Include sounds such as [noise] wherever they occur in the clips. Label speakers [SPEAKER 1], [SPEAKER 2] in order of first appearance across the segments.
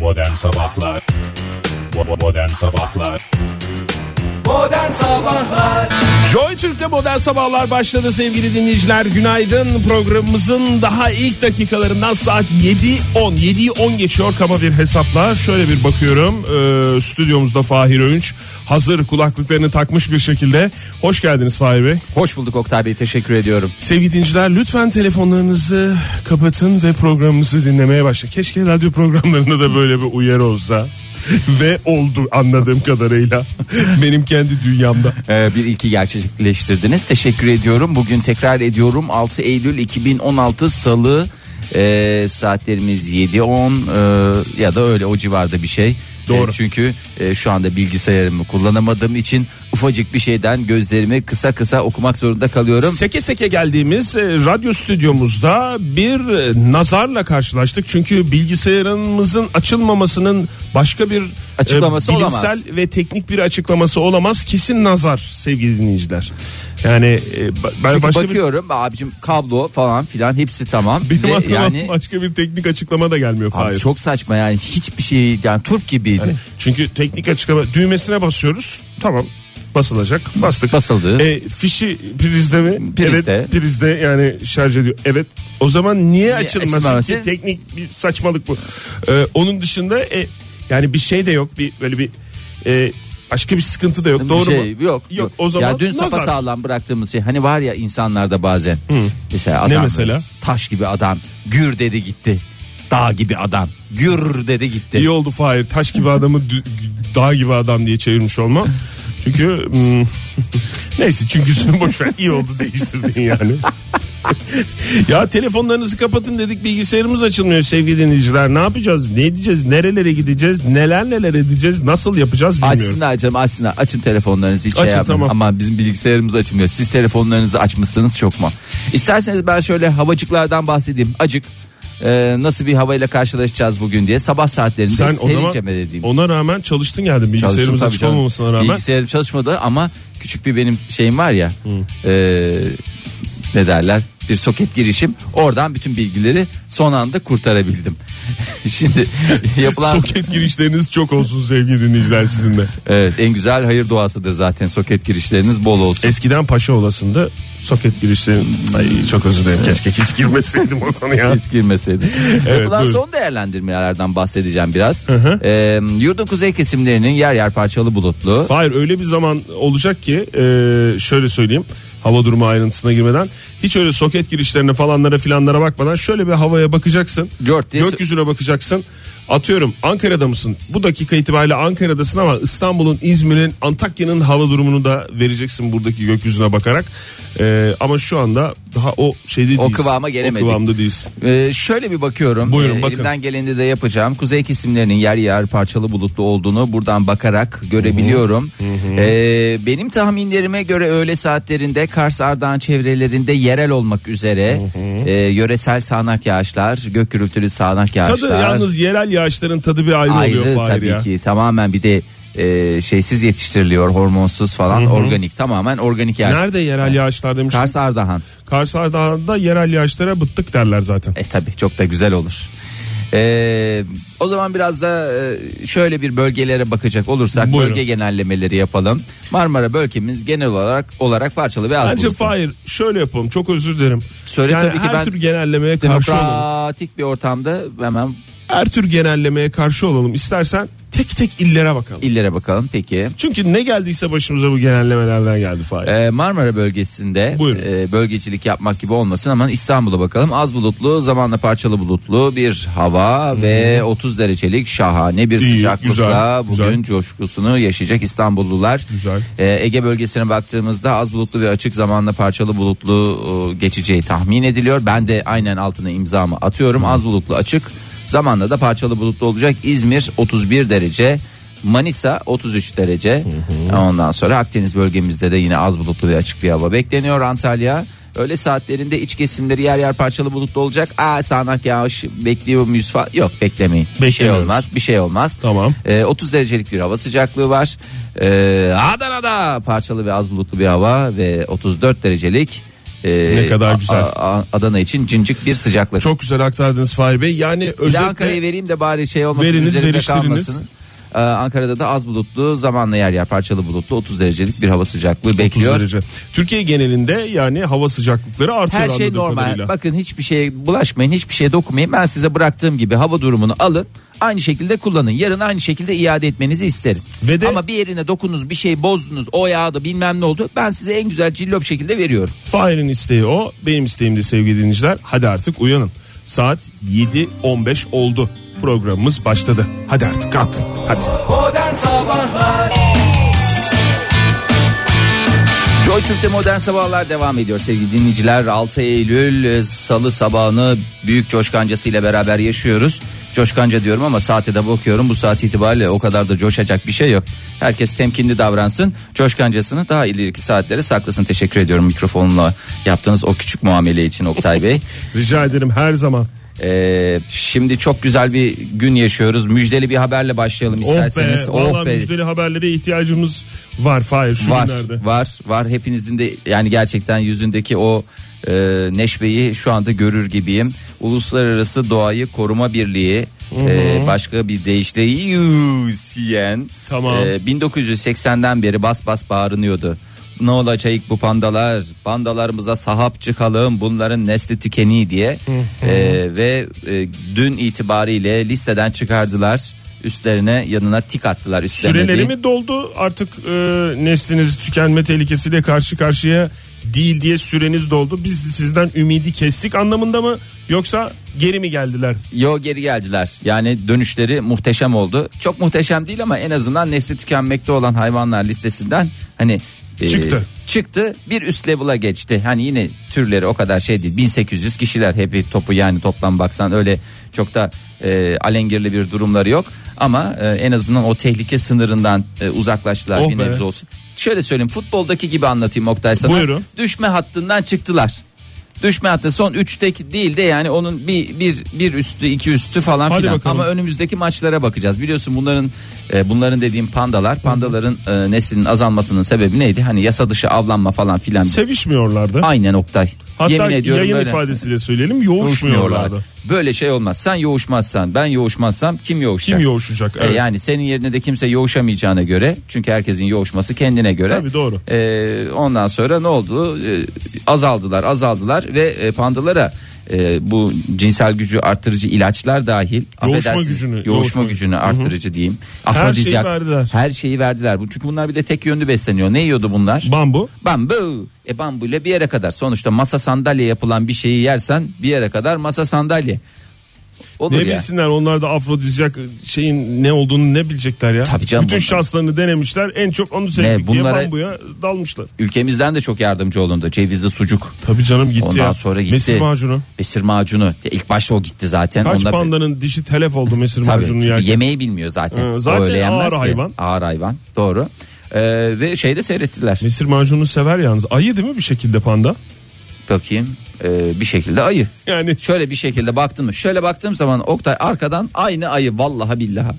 [SPEAKER 1] Modern Sabahlar Bo- Modern Sabahlar
[SPEAKER 2] Modern Sabahlar
[SPEAKER 3] Joy Türk'te modern sabahlar başladı sevgili dinleyiciler. Günaydın programımızın daha ilk dakikalarından saat 7.10. 7'yi 10 geçiyor kaba bir hesapla. Şöyle bir bakıyorum Ee, stüdyomuzda Fahir Öğünç hazır kulaklıklarını takmış bir şekilde. Hoş geldiniz Fahir Bey.
[SPEAKER 2] Hoş bulduk Oktay Bey teşekkür ediyorum.
[SPEAKER 3] Sevgili dinleyiciler lütfen telefonlarınızı kapatın ve programımızı dinlemeye başlayın. Keşke radyo programlarında da böyle bir uyarı olsa. [laughs] ve oldu anladığım kadarıyla benim kendi dünyamda.
[SPEAKER 2] Ee, bir ilki gerçekleştirdiniz. Teşekkür ediyorum. Bugün tekrar ediyorum 6 Eylül 2016 Salı ee, saatlerimiz 7.10 ee, ya da öyle o civarda bir şey.
[SPEAKER 3] Doğru.
[SPEAKER 2] Ee, çünkü e, şu anda bilgisayarımı kullanamadığım için ufacık bir şeyden gözlerimi kısa kısa okumak zorunda kalıyorum.
[SPEAKER 3] Seke seke geldiğimiz e, radyo stüdyomuzda bir e, nazarla karşılaştık. Çünkü bilgisayarımızın açılmamasının başka bir e,
[SPEAKER 2] Açıklaması
[SPEAKER 3] bilimsel
[SPEAKER 2] olamaz.
[SPEAKER 3] ve teknik bir açıklaması olamaz. Kesin nazar sevgili dinleyiciler. Yani e, ba- ben
[SPEAKER 2] Çünkü
[SPEAKER 3] başka
[SPEAKER 2] bakıyorum abicim kablo falan filan hepsi tamam.
[SPEAKER 3] bir benim
[SPEAKER 2] Ve
[SPEAKER 3] aklıma
[SPEAKER 2] yani
[SPEAKER 3] başka bir teknik açıklama da gelmiyor
[SPEAKER 2] Abi
[SPEAKER 3] Fahir.
[SPEAKER 2] çok saçma yani hiçbir şey yani turp gibiydi.
[SPEAKER 3] Çünkü teknik açıklama düğmesine basıyoruz. Tamam basılacak bastık.
[SPEAKER 2] Basıldı.
[SPEAKER 3] E, fişi prizde mi?
[SPEAKER 2] Prizde.
[SPEAKER 3] Evet, prizde yani şarj ediyor. Evet. O zaman niye, açılmasın
[SPEAKER 2] açılmaması?
[SPEAKER 3] ki? Teknik bir saçmalık bu. E, onun dışında e, yani bir şey de yok. Bir böyle bir e, başka bir sıkıntı da yok.
[SPEAKER 2] Bir
[SPEAKER 3] Doğru
[SPEAKER 2] şey
[SPEAKER 3] mu?
[SPEAKER 2] Yok, yok.
[SPEAKER 3] Yok. O zaman
[SPEAKER 2] ya dün
[SPEAKER 3] nazar.
[SPEAKER 2] sapa sağlam bıraktığımız şey hani var ya insanlarda bazen. Mesela adam
[SPEAKER 3] Ne mesela?
[SPEAKER 2] taş gibi adam gür dedi gitti. Dağ gibi adam gür dedi gitti.
[SPEAKER 3] İyi oldu Fahir. Taş gibi adamı dü- dağ gibi adam diye çevirmiş olma. Çünkü hmm, [laughs] neyse çünküsünü boş ver. İyi oldu değiştirdin yani. [laughs] ya telefonlarınızı kapatın dedik bilgisayarımız açılmıyor sevgili dinleyiciler. Ne yapacağız? Ne edeceğiz? Nerelere gideceğiz? Neler neler edeceğiz? Nasıl yapacağız bilmiyorum.
[SPEAKER 2] Açsınlar canım açsınlar. Açın telefonlarınızı hiç şey
[SPEAKER 3] Açın,
[SPEAKER 2] yapmayın.
[SPEAKER 3] tamam.
[SPEAKER 2] Ama bizim bilgisayarımız açmıyor. Siz telefonlarınızı açmışsınız çok mu? İsterseniz ben şöyle havacıklardan bahsedeyim. Acık e, nasıl bir havayla karşılaşacağız bugün diye. Sabah saatlerinde
[SPEAKER 3] Sen o zaman
[SPEAKER 2] serince mi dediğimiz.
[SPEAKER 3] ona rağmen çalıştın geldin
[SPEAKER 2] Çalıştım
[SPEAKER 3] bilgisayarımız
[SPEAKER 2] tabii
[SPEAKER 3] açık
[SPEAKER 2] canım.
[SPEAKER 3] olmamasına rağmen.
[SPEAKER 2] Bilgisayarım çalışmadı ama küçük bir benim şeyim var ya. e, ne derler? Bir soket girişim. Oradan bütün bilgileri son anda kurtarabildim. [laughs]
[SPEAKER 3] [laughs]
[SPEAKER 2] Şimdi yapılan
[SPEAKER 3] Soket girişleriniz çok olsun sevgili dinleyiciler sizin de.
[SPEAKER 2] Evet, en güzel hayır duasıdır zaten. Soket girişleriniz bol olsun.
[SPEAKER 3] Eskiden Paşa Olası'nda soket girişlerin ay çok özür dilerim keşke hiç girmeseydim o konuya.
[SPEAKER 2] Hiç girmeseydi.
[SPEAKER 3] [laughs] Evet,
[SPEAKER 2] Yapılan
[SPEAKER 3] buyurun.
[SPEAKER 2] son değerlendirmelerden bahsedeceğim biraz. Ee, yurdun kuzey kesimlerinin yer yer parçalı bulutlu.
[SPEAKER 3] Hayır öyle bir zaman olacak ki e, şöyle söyleyeyim hava durumu ayrıntısına girmeden hiç öyle soket girişlerine falanlara filanlara bakmadan şöyle bir havaya bakacaksın.
[SPEAKER 2] Cört diye-
[SPEAKER 3] Gökyüzüne bakacaksın. Atıyorum Ankara'da mısın? Bu dakika itibariyle Ankara'dasın ama İstanbul'un, İzmir'in, Antakya'nın hava durumunu da vereceksin buradaki gökyüzüne bakarak. E, ama şu anda daha o şeyde değilsin.
[SPEAKER 2] kıvama gelemedik.
[SPEAKER 3] O kıvamda değilsin.
[SPEAKER 2] Ee, şöyle bir bakıyorum.
[SPEAKER 3] Buyurun,
[SPEAKER 2] Ee,
[SPEAKER 3] bakın.
[SPEAKER 2] Elimden geleni de yapacağım. Kuzey kesimlerinin yer yer parçalı bulutlu olduğunu buradan bakarak görebiliyorum. Ee, benim tahminlerime göre öğle saatlerinde Kars Ardahan çevrelerinde yerel olmak üzere e, yöresel sağanak yağışlar, gök gürültülü sağanak yağışlar.
[SPEAKER 3] Tadı yalnız yerel yağışların tadı bir ayrı, oluyor Fahir
[SPEAKER 2] tabii
[SPEAKER 3] ya.
[SPEAKER 2] ki tamamen bir de e, şeysiz yetiştiriliyor hormonsuz falan organik tamamen organik yer.
[SPEAKER 3] Nerede yerel yağışlar demiştim? Kars,
[SPEAKER 2] Kars Ardahan.
[SPEAKER 3] Dağı'nda yerel yağışlara bıttık derler zaten.
[SPEAKER 2] E tabi çok da güzel olur. E, o zaman biraz da e, şöyle bir bölgelere bakacak olursak
[SPEAKER 3] Buyurun.
[SPEAKER 2] bölge genellemeleri yapalım. Marmara bölgemiz genel olarak olarak parçalı ve az
[SPEAKER 3] Bence
[SPEAKER 2] bulutlu.
[SPEAKER 3] Fahir şöyle yapalım çok özür dilerim.
[SPEAKER 2] Söyle
[SPEAKER 3] yani
[SPEAKER 2] tabii ki
[SPEAKER 3] her
[SPEAKER 2] ben
[SPEAKER 3] tür genellemeye karşı olalım.
[SPEAKER 2] Demokratik bir ortamda hemen
[SPEAKER 3] Her tür genellemeye karşı olalım. İstersen tek tek illere bakalım.
[SPEAKER 2] illere bakalım peki.
[SPEAKER 3] Çünkü ne geldiyse başımıza bu genellemelerden geldi Fahir.
[SPEAKER 2] E, Marmara bölgesinde
[SPEAKER 3] Buyurun.
[SPEAKER 2] e, bölgecilik yapmak gibi olmasın ama İstanbul'a bakalım. Az bulutlu, zamanla parçalı bulutlu bir hava ve 30 derecelik şahane bir
[SPEAKER 3] İyi,
[SPEAKER 2] sıcaklıkla
[SPEAKER 3] güzel,
[SPEAKER 2] bugün
[SPEAKER 3] güzel.
[SPEAKER 2] coşkusunu yaşayacak İstanbullular.
[SPEAKER 3] Güzel.
[SPEAKER 2] E, Ege bölgesine baktığımızda az bulutlu ve açık zamanla parçalı bulutlu e, geçeceği tahmin ediliyor. Ben de aynen altına imzamı atıyorum. Az bulutlu açık zamanla da parçalı bulutlu olacak. İzmir 31 derece. Manisa 33 derece. Ondan sonra Akdeniz bölgemizde de yine az bulutlu ve açık bir hava bekleniyor. Antalya öğle saatlerinde iç kesimleri yer yer parçalı bulutlu olacak. Aa sağanak yağış bekliyor muyuz falan? Yok beklemeyin. Bir şey
[SPEAKER 3] Beklemiyoruz.
[SPEAKER 2] olmaz. Bir şey olmaz.
[SPEAKER 3] Tamam.
[SPEAKER 2] Ee, 30 derecelik bir hava sıcaklığı var. Ee, Adana'da parçalı ve az bulutlu bir hava ve 34 derecelik e,
[SPEAKER 3] Ne kadar güzel.
[SPEAKER 2] A- A- Adana için cincik bir sıcaklık.
[SPEAKER 3] Çok güzel aktardınız Fahir Bey. Yani
[SPEAKER 2] Bir de Ankara'yı
[SPEAKER 3] özetle
[SPEAKER 2] vereyim de bari şey olmasın
[SPEAKER 3] Veriniz,
[SPEAKER 2] üzerinde
[SPEAKER 3] veriştiriniz.
[SPEAKER 2] kalmasın. Ee, Ankara'da da az bulutlu zamanla yer yer parçalı bulutlu 30 derecelik bir hava sıcaklığı
[SPEAKER 3] 30
[SPEAKER 2] bekliyor.
[SPEAKER 3] derece. Türkiye genelinde yani hava sıcaklıkları artıyor
[SPEAKER 2] Her şey
[SPEAKER 3] anladığım
[SPEAKER 2] normal.
[SPEAKER 3] kadarıyla.
[SPEAKER 2] Bakın hiçbir şeye bulaşmayın, hiçbir şeye dokunmayın. Ben size bıraktığım gibi hava durumunu alın. Aynı şekilde kullanın. Yarın aynı şekilde iade etmenizi isterim.
[SPEAKER 3] Ve de-
[SPEAKER 2] Ama bir yerine dokundunuz, bir şey bozdunuz, o yağdı bilmem ne oldu. Ben size en güzel cillop şekilde veriyorum.
[SPEAKER 3] Fahir'in isteği o. Benim isteğim de sevgili dinleyiciler. Hadi artık uyanın. Saat 7.15 oldu. Programımız başladı. Hadi artık kalkın. Hadi.
[SPEAKER 2] Joy Türk'te modern sabahlar devam ediyor sevgili dinleyiciler. 6 Eylül e, salı sabahını büyük coşkancasıyla beraber yaşıyoruz. Coşkanca diyorum ama saate de bakıyorum. Bu saat itibariyle o kadar da coşacak bir şey yok. Herkes temkinli davransın. Coşkancasını daha ileriki saatlere saklasın. Teşekkür ediyorum mikrofonla yaptığınız o küçük muamele için Oktay
[SPEAKER 3] [laughs]
[SPEAKER 2] Bey.
[SPEAKER 3] Rica ederim her zaman.
[SPEAKER 2] Ee, şimdi çok güzel bir gün yaşıyoruz. Müjdeli bir haberle başlayalım isterseniz.
[SPEAKER 3] oh be. Valla müjdeli haberlere ihtiyacımız var Fahir şu
[SPEAKER 2] var,
[SPEAKER 3] günlerde.
[SPEAKER 2] var, var. Hepinizin de yani gerçekten yüzündeki o e, neşveyi şu anda görür gibiyim. Uluslararası Doğayı Koruma Birliği e, başka bir deyişle UCN
[SPEAKER 3] Tamam.
[SPEAKER 2] e, 1980'den beri bas bas bağırınıyordu. Ne olacak bu pandalar? Pandalarımıza sahap çıkalım. Bunların nesli tükeni diye. E, ve e, dün itibariyle listeden çıkardılar. Üstlerine yanına tik attılar. Üstlerine
[SPEAKER 3] Süreleri
[SPEAKER 2] değil.
[SPEAKER 3] mi doldu artık e, nesliniz tükenme tehlikesiyle karşı karşıya değil diye süreniz doldu. Biz sizden ümidi kestik anlamında mı yoksa geri mi geldiler?
[SPEAKER 2] Yo geri geldiler. Yani dönüşleri muhteşem oldu. Çok muhteşem değil ama en azından nesli tükenmekte olan hayvanlar listesinden hani e,
[SPEAKER 3] Çıktı.
[SPEAKER 2] çıktı. Bir üst level'a geçti. Hani yine türleri o kadar şey değil. 1800 kişiler hepi topu yani toplam baksan öyle çok da e, alengirli bir durumları yok. Ama e, en azından o tehlike sınırından e, uzaklaştılar
[SPEAKER 3] Oh
[SPEAKER 2] bir
[SPEAKER 3] be.
[SPEAKER 2] nebze olsun. Şöyle söyleyeyim futboldaki gibi anlatayım Oktay sana.
[SPEAKER 3] Buyurun.
[SPEAKER 2] Düşme hattından çıktılar. Düşme hattı son 3'teki değil de yani onun bir, bir, bir üstü iki üstü falan
[SPEAKER 3] Hadi
[SPEAKER 2] filan.
[SPEAKER 3] bakalım.
[SPEAKER 2] Ama önümüzdeki maçlara bakacağız. Biliyorsun bunların e, bunların dediğim pandalar pandaların e, neslinin azalmasının sebebi neydi? Hani yasa dışı avlanma falan filan.
[SPEAKER 3] Sevişmiyorlardı.
[SPEAKER 2] Aynen Oktay.
[SPEAKER 3] Hatta
[SPEAKER 2] Yemin ediyorum
[SPEAKER 3] yayın
[SPEAKER 2] böyle.
[SPEAKER 3] ifadesiyle söyleyelim
[SPEAKER 2] Yoğuşmuyorlar.
[SPEAKER 3] yoğuşmuyorlardı.
[SPEAKER 2] Böyle şey olmaz. Sen yoğuşmazsan ben yoğuşmazsam kim yoğuşacak?
[SPEAKER 3] Kim yoğuşacak?
[SPEAKER 2] E,
[SPEAKER 3] Evet.
[SPEAKER 2] yani senin yerine de kimse yoğuşamayacağına göre çünkü herkesin yoğuşması kendine göre.
[SPEAKER 3] Tabii, doğru.
[SPEAKER 2] E, ondan sonra ne oldu? E, azaldılar, azaldılar ve e, pandalara e, bu cinsel gücü arttırıcı ilaçlar dahil
[SPEAKER 3] Yoğuşma
[SPEAKER 2] affedersiniz,
[SPEAKER 3] gücünü,
[SPEAKER 2] yoğuşma,
[SPEAKER 3] yoğuşma
[SPEAKER 2] gücünü
[SPEAKER 3] gücünü.
[SPEAKER 2] arttırıcı diyeyim.
[SPEAKER 3] şeyi
[SPEAKER 2] Afrodizyak-
[SPEAKER 3] verdiler.
[SPEAKER 2] Her şeyi verdiler. Bu çünkü bunlar bir de tek yönlü besleniyor. Ne yiyordu bunlar?
[SPEAKER 3] Bambu.
[SPEAKER 2] Bambu. E bambu ile bir yere kadar. Sonuçta masa sandalye yapılan bir şeyi yersen bir yere kadar masa sandalye. Olur
[SPEAKER 3] Ne
[SPEAKER 2] ya.
[SPEAKER 3] bilsinler onlar da afrodizyak şeyin ne olduğunu ne bilecekler ya.
[SPEAKER 2] Tabii canım,
[SPEAKER 3] Bütün
[SPEAKER 2] bunlar-
[SPEAKER 3] şanslarını denemişler. En çok onu sevdik
[SPEAKER 2] bunlara-
[SPEAKER 3] diye bambuya dalmışlar.
[SPEAKER 2] Ülkemizden de çok yardımcı olundu. Cevizli sucuk.
[SPEAKER 3] Tabii canım gitti
[SPEAKER 2] Ondan
[SPEAKER 3] ya.
[SPEAKER 2] sonra gitti.
[SPEAKER 3] Mesir macunu.
[SPEAKER 2] Besir macunu. Ya İlk başta o gitti zaten.
[SPEAKER 3] Kaç
[SPEAKER 2] Onda-
[SPEAKER 3] pandanın dişi telef oldu mesir
[SPEAKER 2] Tabii,
[SPEAKER 3] macunu
[SPEAKER 2] çünkü
[SPEAKER 3] yerken.
[SPEAKER 2] yemeği bilmiyor zaten.
[SPEAKER 3] Ee,
[SPEAKER 2] O
[SPEAKER 3] zaten
[SPEAKER 2] öyle yenmez
[SPEAKER 3] ağır
[SPEAKER 2] ki.
[SPEAKER 3] hayvan.
[SPEAKER 2] Ağır hayvan. Doğru. Ee, ve şeyde seyrettiler.
[SPEAKER 3] Mesir macunu sever yalnız. Ayı değil mi bir şekilde panda?
[SPEAKER 2] Bakayım. Ee, bir şekilde ayı.
[SPEAKER 3] Yani
[SPEAKER 2] Şöyle bir şekilde baktın mı? Şöyle baktığım zaman Oktay arkadan aynı ayı vallahi billahi.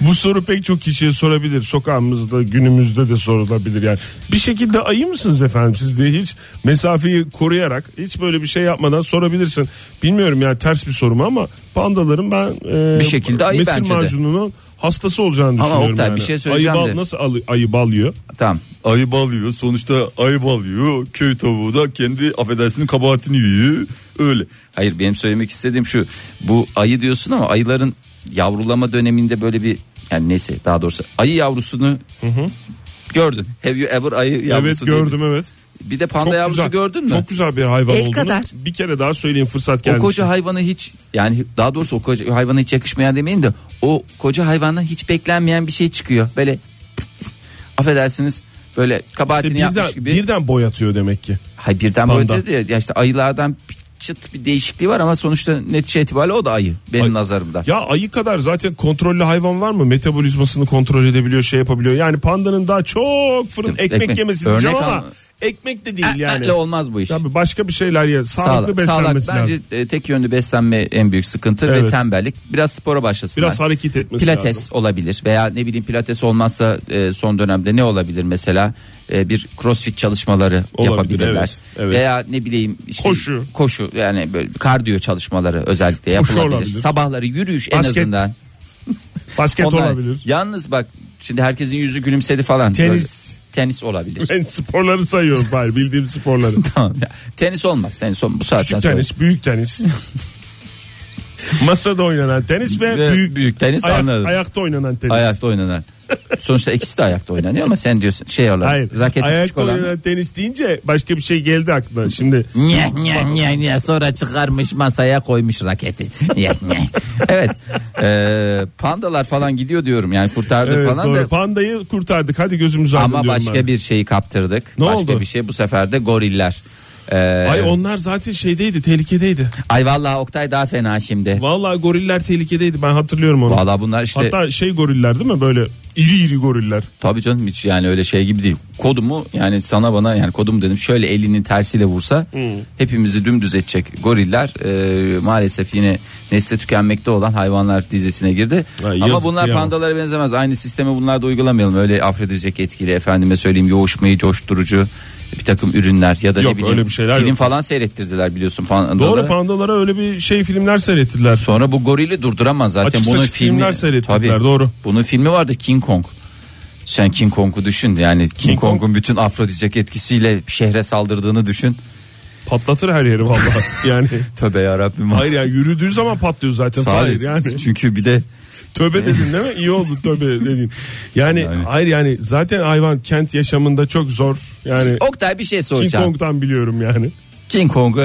[SPEAKER 3] bu soru pek çok kişiye sorabilir. Sokağımızda günümüzde de sorulabilir yani. Bir şekilde ayı mısınız efendim siz diye hiç mesafeyi koruyarak hiç böyle bir şey yapmadan sorabilirsin. Bilmiyorum yani ters bir soru mu ama pandaların ben e,
[SPEAKER 2] Bir şekilde ayı
[SPEAKER 3] mesir
[SPEAKER 2] bence de.
[SPEAKER 3] macununun hastası olacağını
[SPEAKER 2] Ama
[SPEAKER 3] düşünüyorum.
[SPEAKER 2] Oktay,
[SPEAKER 3] yani.
[SPEAKER 2] bir şey söyleyeceğim
[SPEAKER 3] ayı bal,
[SPEAKER 2] de.
[SPEAKER 3] Nasıl alı- ayı balıyor?
[SPEAKER 2] Tamam.
[SPEAKER 4] ayı balıyor. Sonuçta ayı balıyor. Köy tavuğu da kendi affedersinin kabahatini yiyor. Öyle.
[SPEAKER 2] Hayır benim söylemek istediğim şu. Bu ayı diyorsun ama ayıların yavrulama döneminde böyle bir yani neyse daha doğrusu ayı yavrusunu gördün. Have you ever ayı yavrusu? diye
[SPEAKER 3] evet
[SPEAKER 2] bir-
[SPEAKER 3] gördüm evet.
[SPEAKER 2] Bir de panda
[SPEAKER 3] Çok
[SPEAKER 2] yavrusu
[SPEAKER 3] güzel,
[SPEAKER 2] gördün mü?
[SPEAKER 3] Çok güzel bir hayvan
[SPEAKER 2] El
[SPEAKER 3] olduğunu
[SPEAKER 2] kadar.
[SPEAKER 3] bir kere daha söyleyeyim fırsat
[SPEAKER 2] o
[SPEAKER 3] gelmiş.
[SPEAKER 2] koca hayvana hiç yani daha doğrusu o koca hayvana hiç yakışmayan demeyin de o koca hayvandan hiç beklenmeyen bir şey çıkıyor. Böyle affedersiniz böyle kabahatini
[SPEAKER 3] İşte birden,
[SPEAKER 2] yapmış gibi.
[SPEAKER 3] birden boy atıyor demek ki.
[SPEAKER 2] Hayır birden
[SPEAKER 3] Panda.
[SPEAKER 2] böyle dedi ya, ya işte ayılardan bir çıt bir değişikliği var ama sonuçta netice itibariyle o da ayı benim
[SPEAKER 3] Ay-
[SPEAKER 2] nazarımda.
[SPEAKER 3] Ya ayı kadar zaten kontrollü hayvan var mı? Metabolizmasını kontrol edebiliyor, şey yapabiliyor. Yani pandanın daha çok fırın
[SPEAKER 2] Ekmek.
[SPEAKER 3] ekmek, yemesi
[SPEAKER 2] Örnek E,
[SPEAKER 3] diyeceğim ama
[SPEAKER 2] al-
[SPEAKER 3] ekmek de değil yani.
[SPEAKER 2] Elle olmaz bu iş.
[SPEAKER 3] Tabii başka bir şeyler ya. Sağlıklı
[SPEAKER 2] Sağlak-
[SPEAKER 3] beslenmesi
[SPEAKER 2] sağlak.
[SPEAKER 3] lazım.
[SPEAKER 2] Bence e, tek yönlü beslenme en büyük sıkıntı ve
[SPEAKER 3] Evet.
[SPEAKER 2] tembellik. Biraz spora başlasınlar.
[SPEAKER 3] Biraz hareket etmesi
[SPEAKER 2] Pilates
[SPEAKER 3] lazım.
[SPEAKER 2] olabilir veya ne bileyim pilates olmazsa e, son dönemde ne olabilir mesela E, bir crossfit çalışmaları
[SPEAKER 3] Olabilir,
[SPEAKER 2] yapabilirler
[SPEAKER 3] evet, evet.
[SPEAKER 2] veya ne bileyim işte
[SPEAKER 3] Koşu.
[SPEAKER 2] koşu yani böyle kardiyo çalışmaları özellikle
[SPEAKER 3] Koşu
[SPEAKER 2] yapılabilir.
[SPEAKER 3] olabilir.
[SPEAKER 2] Sabahları yürüyüş en
[SPEAKER 3] Basket
[SPEAKER 2] azından.
[SPEAKER 3] Basket
[SPEAKER 2] Onlar-
[SPEAKER 3] olabilir. [laughs]
[SPEAKER 2] Yalnız bak şimdi herkesin yüzü gülümsedi falan.
[SPEAKER 3] Tenis.
[SPEAKER 2] Böyle- Tenis olabilir. [laughs]
[SPEAKER 3] Ben sporları sayıyorum bari bildiğim sporları.
[SPEAKER 2] tamam. ya. Tenis olmaz. Tenis olmaz. Bu saatten
[SPEAKER 3] Küçük
[SPEAKER 2] sonra.
[SPEAKER 3] tenis,
[SPEAKER 2] [laughs]
[SPEAKER 3] büyük tenis. Masada oynanan tenis ve,
[SPEAKER 2] Ve
[SPEAKER 3] büyük,
[SPEAKER 2] büyük tenis
[SPEAKER 3] ayak-
[SPEAKER 2] anladım.
[SPEAKER 3] ayakta oynanan tenis.
[SPEAKER 2] Ayakta oynanan.
[SPEAKER 3] [laughs]
[SPEAKER 2] Sonuçta ikisi de ayakta oynanıyor ama sen diyorsun şey olan.
[SPEAKER 3] Hayır.
[SPEAKER 2] Raketi küçük
[SPEAKER 3] ayakta
[SPEAKER 2] olan.
[SPEAKER 3] oynanan tenis deyince başka bir şey geldi aklına. Şimdi
[SPEAKER 2] Nye, nye, nye, nye. sonra çıkarmış masaya koymuş raketi. Nye, nye. evet. Ee, pandalar falan gidiyor diyorum yani kurtardık
[SPEAKER 3] evet,
[SPEAKER 2] falan
[SPEAKER 3] doğru.
[SPEAKER 2] da
[SPEAKER 3] pandayı kurtardık. Hadi gözümüzü aydın
[SPEAKER 2] ama
[SPEAKER 3] diyorum
[SPEAKER 2] başka
[SPEAKER 3] ben.
[SPEAKER 2] bir şeyi kaptırdık.
[SPEAKER 3] Ne
[SPEAKER 2] başka
[SPEAKER 3] oldu?
[SPEAKER 2] bir şey bu sefer de goriller. Ee,
[SPEAKER 3] Ay onlar zaten şeydeydi, tehlikedeydi.
[SPEAKER 2] ay vallahi Oktay daha fena şimdi.
[SPEAKER 3] Vallahi goriller tehlikedeydi. Ben hatırlıyorum onu.
[SPEAKER 2] Vallahi bunlar işte
[SPEAKER 3] Hatta şey goriller değil mi böyle iri iri goriller.
[SPEAKER 2] tabii canım hiç yani öyle şey gibi değil. Kodumu yani sana bana yani kodum dedim şöyle elinin tersiyle vursa
[SPEAKER 3] Hmm.
[SPEAKER 2] hepimizi dümdüz edecek goriller e, maalesef yine nesle tükenmekte olan hayvanlar dizisine girdi.
[SPEAKER 3] Ay,
[SPEAKER 2] Ama
[SPEAKER 3] yazık,
[SPEAKER 2] bunlar
[SPEAKER 3] kıyamam.
[SPEAKER 2] pandalara benzemez. Aynı sistemi bunlar da uygulamayalım. Öyle afrodizyak etkili efendime söyleyeyim yoğuşmayı coşturucu bir takım ürünler ya da
[SPEAKER 3] Yok,
[SPEAKER 2] ne bileyim
[SPEAKER 3] öyle bir şeyler
[SPEAKER 2] film
[SPEAKER 3] yok.
[SPEAKER 2] falan seyrettirdiler biliyorsun pandalara.
[SPEAKER 3] Doğru pandalara öyle bir şey filmler seyrettiler.
[SPEAKER 2] Sonra bu gorili durduramaz zaten.
[SPEAKER 3] Açık
[SPEAKER 2] bunun
[SPEAKER 3] saçık
[SPEAKER 2] filmi,
[SPEAKER 3] filmler seyrettiler,
[SPEAKER 2] Tabii.
[SPEAKER 3] doğru.
[SPEAKER 2] Bunun filmi vardı King Kong. Sen King Kong'u düşün yani King,
[SPEAKER 3] King Kong-
[SPEAKER 2] Kong'un bütün afrodizyak etkisiyle şehre saldırdığını düşün.
[SPEAKER 3] Patlatır her yeri
[SPEAKER 2] [laughs]
[SPEAKER 3] vallahi. yani
[SPEAKER 2] Tövbe yarabbim.
[SPEAKER 3] hayır yani yürüdüğü zaman patlıyor zaten.
[SPEAKER 2] Sağ
[SPEAKER 3] Hayır
[SPEAKER 2] ol.
[SPEAKER 3] yani.
[SPEAKER 2] Çünkü bir de
[SPEAKER 3] Tövbe dedin değil mi? İyi oldu tövbe dedin. Yani, hayır yani zaten hayvan kent yaşamında çok zor. Yani
[SPEAKER 2] Oktay bir şey
[SPEAKER 3] King
[SPEAKER 2] soracağım. King,
[SPEAKER 3] Kong'dan biliyorum yani.
[SPEAKER 2] Kong'u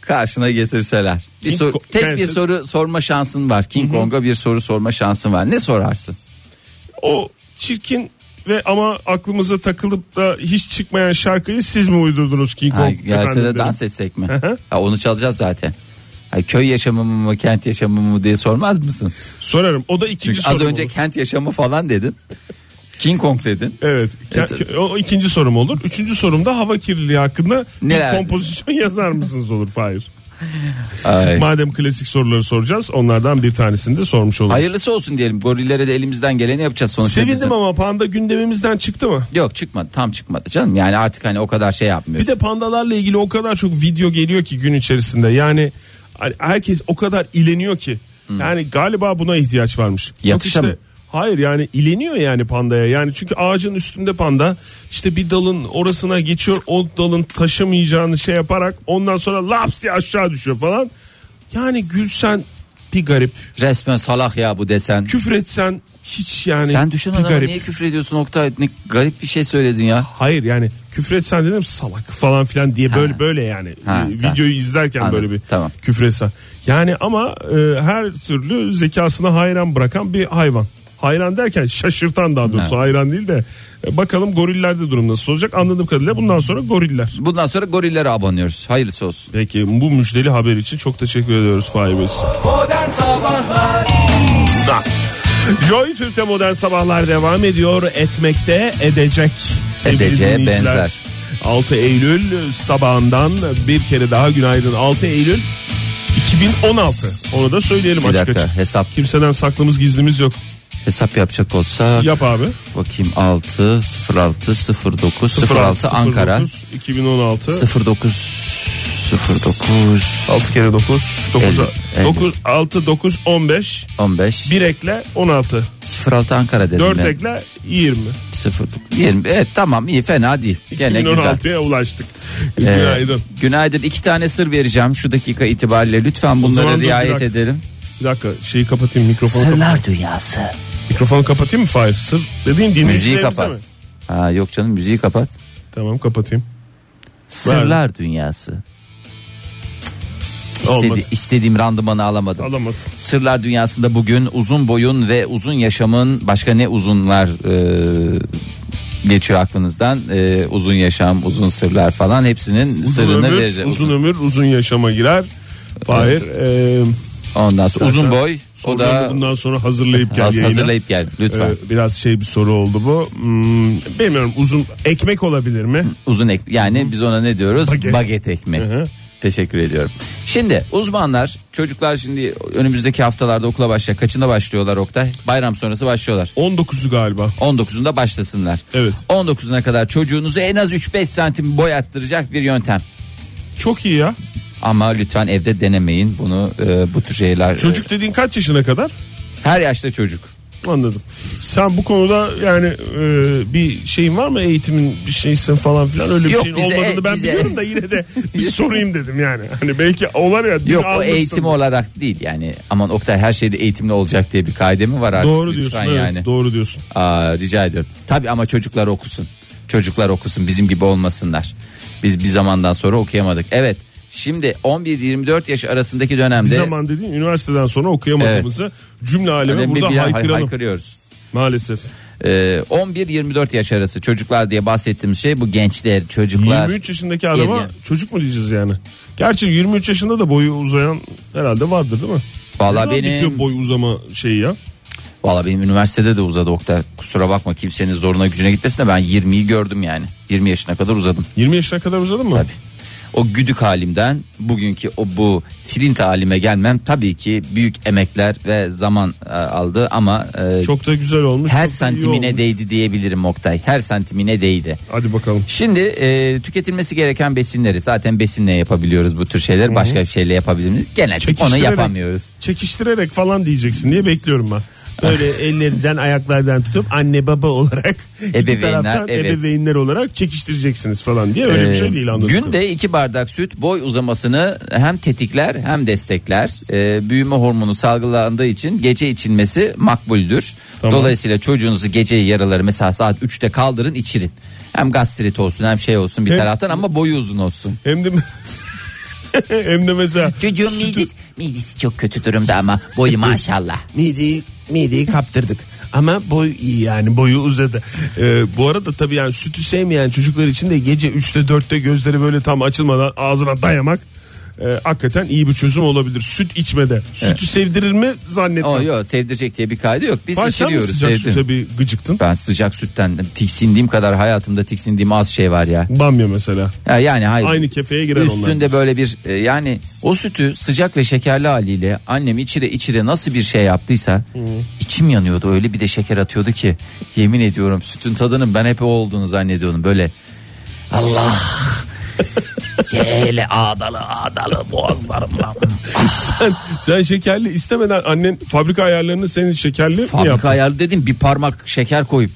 [SPEAKER 2] karşına getirseler. Bir
[SPEAKER 3] King
[SPEAKER 2] soru-
[SPEAKER 3] Kong-
[SPEAKER 2] tek bir
[SPEAKER 3] Kendisi-
[SPEAKER 2] soru sorma şansın var. King Kong'a bir soru sorma şansın var. Ne sorarsın?
[SPEAKER 3] O çirkin ve ama aklımıza takılıp da hiç çıkmayan şarkıyı siz mi uydurdunuz King
[SPEAKER 2] Ha,
[SPEAKER 3] Kong?
[SPEAKER 2] gelse
[SPEAKER 3] efendim
[SPEAKER 2] de
[SPEAKER 3] dedim.
[SPEAKER 2] dans etsek mi?
[SPEAKER 3] hı.
[SPEAKER 2] ha, onu çalacağız zaten. Ha, köy yaşamı mı kent yaşamı mı diye sormaz mısın?
[SPEAKER 3] Sorarım. O da ikinci
[SPEAKER 2] Çünkü az
[SPEAKER 3] sorum
[SPEAKER 2] önce
[SPEAKER 3] olur.
[SPEAKER 2] kent yaşamı falan dedin. King Kong dedin.
[SPEAKER 3] Evet. Ke-
[SPEAKER 2] Evet.
[SPEAKER 3] ke- O ikinci sorum olur. Üçüncü sorumda hava kirliliği hakkında
[SPEAKER 2] Neler?
[SPEAKER 3] bir kompozisyon yazar mısınız olur Fahir.
[SPEAKER 2] Ay.
[SPEAKER 3] Madem klasik soruları soracağız onlardan bir tanesini de sormuş oluruz.
[SPEAKER 2] Hayırlısı olsun diyelim. Gorillere de elimizden geleni yapacağız sonuçta. bizim.
[SPEAKER 3] Sevindim ama panda gündemimizden çıktı mı?
[SPEAKER 2] Yok çıkmadı. Tam çıkmadı canım. Yani artık hani o kadar şey yapmıyoruz.
[SPEAKER 3] Bir de pandalarla ilgili o kadar çok video geliyor ki gün içerisinde. Yani hani herkes o kadar ileniyor ki. Yani galiba buna ihtiyaç varmış. Yok
[SPEAKER 2] Hmm. Yatışa mı?
[SPEAKER 3] Hayır yani ileniyor yani pandaya. Yani çünkü ağacın üstünde panda işte bir dalın orasına geçiyor. O dalın taşamayacağını şey yaparak ondan sonra laps diye aşağı düşüyor falan. Yani gülsen bir garip.
[SPEAKER 2] Resmen salak ya bu desen.
[SPEAKER 3] Küfretsen hiç yani
[SPEAKER 2] Sen düşen
[SPEAKER 3] bir
[SPEAKER 2] adama
[SPEAKER 3] garip.
[SPEAKER 2] niye küfür ediyorsun Oktay? Ne garip bir şey söyledin ya.
[SPEAKER 3] Hayır yani küfretsen dedim salak falan filan diye böyle böyle yani
[SPEAKER 2] Ha,
[SPEAKER 3] Ee,
[SPEAKER 2] tamam.
[SPEAKER 3] videoyu izlerken
[SPEAKER 2] Anladım,
[SPEAKER 3] böyle bir
[SPEAKER 2] tamam.
[SPEAKER 3] küfretsen. Yani ama e, her türlü zekasına hayran bırakan bir hayvan. Hayran derken şaşırtan daha doğrusu hayran değil de e, bakalım gorillerde durum nasıl olacak anladığım kadarıyla bundan sonra goriller.
[SPEAKER 2] Bundan sonra gorillere abanıyoruz. Hayırlısı olsun.
[SPEAKER 3] Peki bu müjdeli haber için çok teşekkür ediyoruz Fahir Bey size. Da. Joy Türk'te modern sabahlar devam ediyor. Etmekte edecek. Sevgili
[SPEAKER 2] Edeceğe
[SPEAKER 3] dinleyiciler,
[SPEAKER 2] benzer.
[SPEAKER 3] 6 Eylül sabahından bir kere daha günaydın. 6 Eylül 2016. Onu da söyleyelim
[SPEAKER 2] Bir
[SPEAKER 3] açık
[SPEAKER 2] dakika
[SPEAKER 3] açık.
[SPEAKER 2] hesap
[SPEAKER 3] Kimseden saklımız gizlimiz yok.
[SPEAKER 2] hesap yapacak olsa
[SPEAKER 3] Yap abi.
[SPEAKER 2] bakayım 6 06 09 06,
[SPEAKER 3] 06,
[SPEAKER 2] Ankara
[SPEAKER 3] 09, 2016.
[SPEAKER 2] 09 09
[SPEAKER 3] 6 kere 9. 9,
[SPEAKER 2] Elli, elli.
[SPEAKER 3] 9 6, 9, 15.
[SPEAKER 2] 15
[SPEAKER 3] 1 ekle 16.
[SPEAKER 2] 06 Ankara dedim
[SPEAKER 3] 4
[SPEAKER 2] ya.
[SPEAKER 3] ekle 20.
[SPEAKER 2] 0 20 evet tamam iyi fena değil. Gene güzel.
[SPEAKER 3] 2016'ya ulaştık.
[SPEAKER 2] Ee,
[SPEAKER 3] Günaydın.
[SPEAKER 2] günaydın. İki tane sır vereceğim şu dakika itibariyle. Lütfen bunlara
[SPEAKER 3] zaman dur bir
[SPEAKER 2] riayet
[SPEAKER 3] dakika.
[SPEAKER 2] edelim.
[SPEAKER 3] Bir dakika şeyi kapatayım mikrofonu kapatayım.
[SPEAKER 2] Sırlar dünyası.
[SPEAKER 3] Mikrofonu kapatayım mı Fahir? Sır dediğin
[SPEAKER 2] Müziği
[SPEAKER 3] dinleyicilerimize
[SPEAKER 2] kapat.
[SPEAKER 3] mi?
[SPEAKER 2] Ha, yok canım müziği kapat.
[SPEAKER 3] Tamam kapatayım.
[SPEAKER 2] Sırlar dünyası.
[SPEAKER 3] Olmadı.
[SPEAKER 2] İstedi, istediğim randımanı alamadım.
[SPEAKER 3] Alamadım.
[SPEAKER 2] Sırlar dünyasında bugün uzun boyun ve uzun yaşamın başka ne uzunlar e, geçiyor aklınızdan. E, uzun yaşam, uzun sırlar falan hepsinin
[SPEAKER 3] Uzun
[SPEAKER 2] sırrını
[SPEAKER 3] ömür,
[SPEAKER 2] vereceğim.
[SPEAKER 3] uzun ömür, uzun yaşama girer. Fahir, e,
[SPEAKER 2] Ondan sonra uzun
[SPEAKER 3] İstersen-
[SPEAKER 2] boy, O
[SPEAKER 3] Oradan da
[SPEAKER 2] da
[SPEAKER 3] bundan sonra hazırlayıp gel
[SPEAKER 2] az
[SPEAKER 3] yayına.
[SPEAKER 2] hazırlayıp gel lütfen.
[SPEAKER 3] Ee, biraz şey bir soru oldu bu. Hmm, bilmiyorum uzun ekmek olabilir mi?
[SPEAKER 2] Uzun ek yani biz ona ne diyoruz?
[SPEAKER 3] Baget.
[SPEAKER 2] Baget, ekmek. Teşekkür ediyorum. Şimdi uzmanlar çocuklar şimdi önümüzdeki haftalarda okula başlayacak. Kaçında başlıyorlar Oktay? Bayram sonrası başlıyorlar.
[SPEAKER 3] 19'u galiba.
[SPEAKER 2] 19'unda başlasınlar.
[SPEAKER 3] Evet.
[SPEAKER 2] 19'una kadar çocuğunuzu en az 3-5 santim boy attıracak bir yöntem.
[SPEAKER 3] Çok iyi ya.
[SPEAKER 2] Ama lütfen evde denemeyin bunu e, bu tür şeyler.
[SPEAKER 3] Çocuk dediğin kaç yaşına kadar?
[SPEAKER 2] E, her yaşta çocuk.
[SPEAKER 3] Anladım. Sen bu konuda yani e, bir şeyin var mı eğitimin bir şeysin falan filan öyle bir
[SPEAKER 2] Yok,
[SPEAKER 3] şeyin
[SPEAKER 2] bize- e,
[SPEAKER 3] olmadığını ben
[SPEAKER 2] bize-
[SPEAKER 3] biliyorum da
[SPEAKER 2] [laughs]
[SPEAKER 3] yine de bir sorayım dedim yani. Hani belki olar ya. bir
[SPEAKER 2] Yok o
[SPEAKER 3] anlasın.
[SPEAKER 2] eğitim olarak değil yani. Aman Oktay her şeyde eğitimli olacak diye bir kaide mi var artık?
[SPEAKER 3] Doğru diyorsun
[SPEAKER 2] Lütfen
[SPEAKER 3] evet doğru diyorsun.
[SPEAKER 2] Aa, rica ediyorum. Tabi ama çocuklar okusun. Çocuklar okusun bizim gibi olmasınlar. Biz bir zamandan sonra okuyamadık. Evet şimdi 11-24 yaş arasındaki dönemde
[SPEAKER 3] Bir zaman dediğin üniversiteden sonra okuyamadığımızı cümle aleme
[SPEAKER 2] önemli
[SPEAKER 3] burada
[SPEAKER 2] bir hay-
[SPEAKER 3] haykıralım.
[SPEAKER 2] haykırıyoruz.
[SPEAKER 3] Maalesef.
[SPEAKER 2] Ee, 11-24 yaş arası çocuklar diye bahsettiğimiz şey bu gençler çocuklar.
[SPEAKER 3] 23 yaşındaki adama
[SPEAKER 2] Geriye.
[SPEAKER 3] çocuk mu diyeceğiz yani? Gerçi 23 yaşında da boyu uzayan herhalde vardır değil mi?
[SPEAKER 2] Vallahi
[SPEAKER 3] Ne zaman
[SPEAKER 2] benim-
[SPEAKER 3] bitiyor boy uzama şeyi ya.
[SPEAKER 2] Valla benim üniversitede de uzadı Oktay. Kusura bakma kimsenin zoruna gücüne gitmesin de ben 20'yi gördüm yani. 20 yaşına kadar uzadım.
[SPEAKER 3] 20 yaşına kadar uzadı mı?
[SPEAKER 2] Tabii. O güdük halimden bugünkü o bu trint halime gelmem tabii ki büyük emekler ve zaman e, aldı ama e,
[SPEAKER 3] Çok da güzel olmuş.
[SPEAKER 2] her
[SPEAKER 3] çok da iyi
[SPEAKER 2] santimine
[SPEAKER 3] olmuş.
[SPEAKER 2] değdi diyebilirim Oktay. Her santimine değdi.
[SPEAKER 3] Hadi bakalım.
[SPEAKER 2] Şimdi e, tüketilmesi gereken besinleri zaten besinle yapabiliyoruz bu tür şeyler. Başka bir şeyle yapabiliriz. Genellikle onu
[SPEAKER 3] Çekiştirerek-
[SPEAKER 2] yapamıyoruz.
[SPEAKER 3] Çekiştirerek falan diyeceksin diye bekliyorum ben.
[SPEAKER 2] [laughs]
[SPEAKER 3] Böyle ellerinden ayaklardan tutup anne baba olarak [laughs] iki
[SPEAKER 2] Ebeveynler,
[SPEAKER 3] taraftan
[SPEAKER 2] evet.
[SPEAKER 3] ebeveynler olarak çekiştireceksiniz falan diye öyle bir şey
[SPEAKER 2] Ee,
[SPEAKER 3] değil anladım.
[SPEAKER 2] Günde iki bardak süt boy uzamasını hem tetikler hem destekler. Ee, büyüme hormonu salgılandığı için gece içilmesi makbuldür.
[SPEAKER 3] Tamam.
[SPEAKER 2] Dolayısıyla çocuğunuzu gece yaraları mesela saat 3'te kaldırın içirin. Hem gastrit olsun hem şey olsun bir
[SPEAKER 3] Hem-
[SPEAKER 2] taraftan ama boyu uzun olsun.
[SPEAKER 3] Hem de [laughs] hem de mesela
[SPEAKER 2] Çocuğun midesi, midesi çok kötü durumda ama boyu maşallah. [laughs]
[SPEAKER 3] mideyi mideyi kaptırdık. Ama boy iyi yani boyu uzadı. Ee, bu arada tabii yani sütü sevmeyen çocuklar için de gece 3'te 4'te gözleri böyle tam açılmadan ağzına dayamak e, hakikaten iyi bir çözüm olabilir. Süt içmede. Sütü sevdirir mi zannetmem.
[SPEAKER 2] O yok sevdirecek diye bir kaydı yok. Biz
[SPEAKER 3] Sen mi
[SPEAKER 2] içiriyoruz.
[SPEAKER 3] sıcak
[SPEAKER 2] sevdirin.
[SPEAKER 3] süte bir gıcıktın?
[SPEAKER 2] Ben sıcak sütten tiksindiğim kadar hayatımda tiksindiğim az şey var ya.
[SPEAKER 3] Bamya mesela.
[SPEAKER 2] Ya yani hayır.
[SPEAKER 3] Aynı kefeye girer onlar.
[SPEAKER 2] Üstünde böyle bir e, yani o sütü sıcak ve şekerli haliyle annem içire içire nasıl bir şey yaptıysa içim yanıyordu öyle bir de şeker atıyordu ki yemin ediyorum sütün tadının ben hep o olduğunu zannediyordum böyle
[SPEAKER 3] [laughs]
[SPEAKER 2] Allah Şöyle ağdalı ağdalı boğazlarımla
[SPEAKER 3] Sen, sen şekerli istemeden annen fabrika ayarlarını senin şekerli mi
[SPEAKER 2] Fabrika
[SPEAKER 3] yaptı?
[SPEAKER 2] ayarlı dedim bir parmak şeker koyup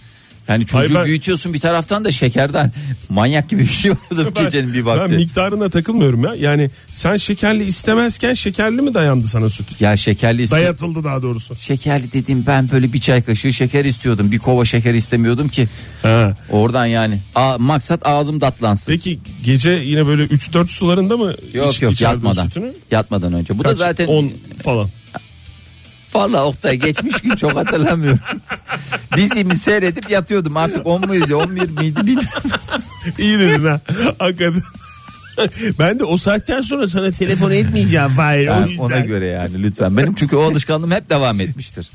[SPEAKER 2] yani çocuğu
[SPEAKER 3] Hayır, ben-
[SPEAKER 2] büyütüyorsun bir taraftan da şekerden [laughs] manyak gibi bir şey oldu
[SPEAKER 3] Ben-
[SPEAKER 2] gecenin bir
[SPEAKER 3] Ben
[SPEAKER 2] vakti.
[SPEAKER 3] miktarına takılmıyorum ya. Yani sen şekerli istemezken şekerli mi dayandı sana süt?
[SPEAKER 2] Ya şekerli istiyor-
[SPEAKER 3] Dayatıldı daha doğrusu.
[SPEAKER 2] Şekerli dedim ben böyle bir çay kaşığı şeker istiyordum. Bir kova şeker istemiyordum ki.
[SPEAKER 3] Ha.
[SPEAKER 2] Oradan yani. A, maksat ağzım tatlansın.
[SPEAKER 3] Peki gece yine böyle 3-4 sularında mı
[SPEAKER 2] Yok
[SPEAKER 3] iç-
[SPEAKER 2] yok
[SPEAKER 3] içerdin
[SPEAKER 2] yatmadan.
[SPEAKER 3] sütünü?
[SPEAKER 2] Yatmadan önce. Bu da
[SPEAKER 3] Kaç?
[SPEAKER 2] zaten
[SPEAKER 3] 10
[SPEAKER 2] [laughs]
[SPEAKER 3] falan.
[SPEAKER 2] Vallahi Oktay geçmiş gün çok
[SPEAKER 3] [laughs]
[SPEAKER 2] hatırlamıyorum. Dizimi seyredip yatıyordum artık 10 muydu 11 miydi bilmiyorum.
[SPEAKER 3] İyi dedin ha. Hakikaten. [laughs] ben de o saatten sonra sana telefon etmeyeceğim. Hayır, o
[SPEAKER 2] Yani
[SPEAKER 3] yüzden.
[SPEAKER 2] ona göre yani lütfen. Benim çünkü o alışkanlığım hep devam
[SPEAKER 3] [laughs]
[SPEAKER 2] etmiştir.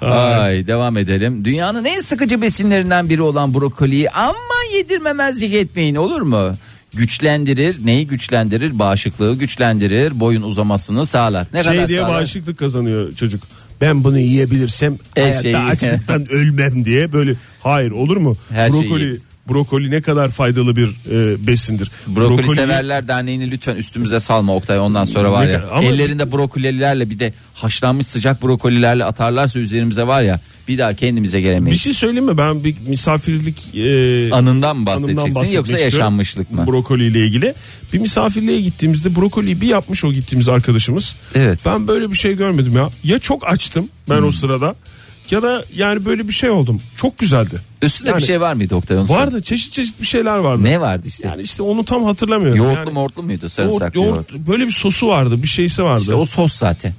[SPEAKER 2] Ay devam edelim. Dünyanın en sıkıcı besinlerinden biri olan brokoliyi ama yedirmemezlik etmeyin olur mu? Güçlendirir. Neyi güçlendirir? Bağışıklığı güçlendirir. Boyun uzamasını sağlar. Ne
[SPEAKER 3] şey
[SPEAKER 2] kadar
[SPEAKER 3] diye
[SPEAKER 2] sağlar?
[SPEAKER 3] bağışıklık kazanıyor çocuk. Ben bunu yiyebilirsem
[SPEAKER 2] Her
[SPEAKER 3] hayatta
[SPEAKER 2] şeyi. [laughs]
[SPEAKER 3] açlıktan ölmem diye böyle hayır olur mu?
[SPEAKER 2] Her şey şeyi
[SPEAKER 3] brokoli
[SPEAKER 2] yiyin.
[SPEAKER 3] brokoli ne kadar faydalı bir e, besindir.
[SPEAKER 2] Brokoli,
[SPEAKER 3] Brokoliyi-
[SPEAKER 2] severler derneğini lütfen üstümüze salma Oktay ondan sonra var
[SPEAKER 3] Ne
[SPEAKER 2] ya.
[SPEAKER 3] kadar- ama-
[SPEAKER 2] Ellerinde brokolilerle bir de haşlanmış sıcak brokolilerle atarlarsa üzerimize var ya bir daha kendimize
[SPEAKER 3] Bir
[SPEAKER 2] gelemeyiz.
[SPEAKER 3] şey söyleyeyim mi? Ben bir misafirlik
[SPEAKER 2] Anından
[SPEAKER 3] e,
[SPEAKER 2] mı
[SPEAKER 3] anımdan
[SPEAKER 2] bahsedeceksin
[SPEAKER 3] bahsetmek
[SPEAKER 2] yoksa
[SPEAKER 3] istiyorum.
[SPEAKER 2] yaşanmışlık mı?
[SPEAKER 3] Brokoli ile ilgili. Bir misafirliğe gittiğimizde brokoliyi bir yapmış o gittiğimiz arkadaşımız.
[SPEAKER 2] Evet. Hmm.
[SPEAKER 3] Ben böyle bir şey görmedim ya. Ya çok açtım ben o sırada ya da yani böyle bir şey oldum. Çok güzeldi.
[SPEAKER 2] Üstünde
[SPEAKER 3] Yani
[SPEAKER 2] bir şey var mıydı Oktay? onu sor.
[SPEAKER 3] Vardı çeşit çeşit bir şeyler vardı.
[SPEAKER 2] Ne vardı işte?
[SPEAKER 3] Yani işte onu tam hatırlamıyorum.
[SPEAKER 2] yoğurtlu
[SPEAKER 3] yani,
[SPEAKER 2] mortlu muydu?
[SPEAKER 3] yoğurt-
[SPEAKER 2] Sarımsaklı yoğurt.
[SPEAKER 3] yoğurt- böyle bir sosu vardı bir şeysi vardı.
[SPEAKER 2] İşte o sos zaten.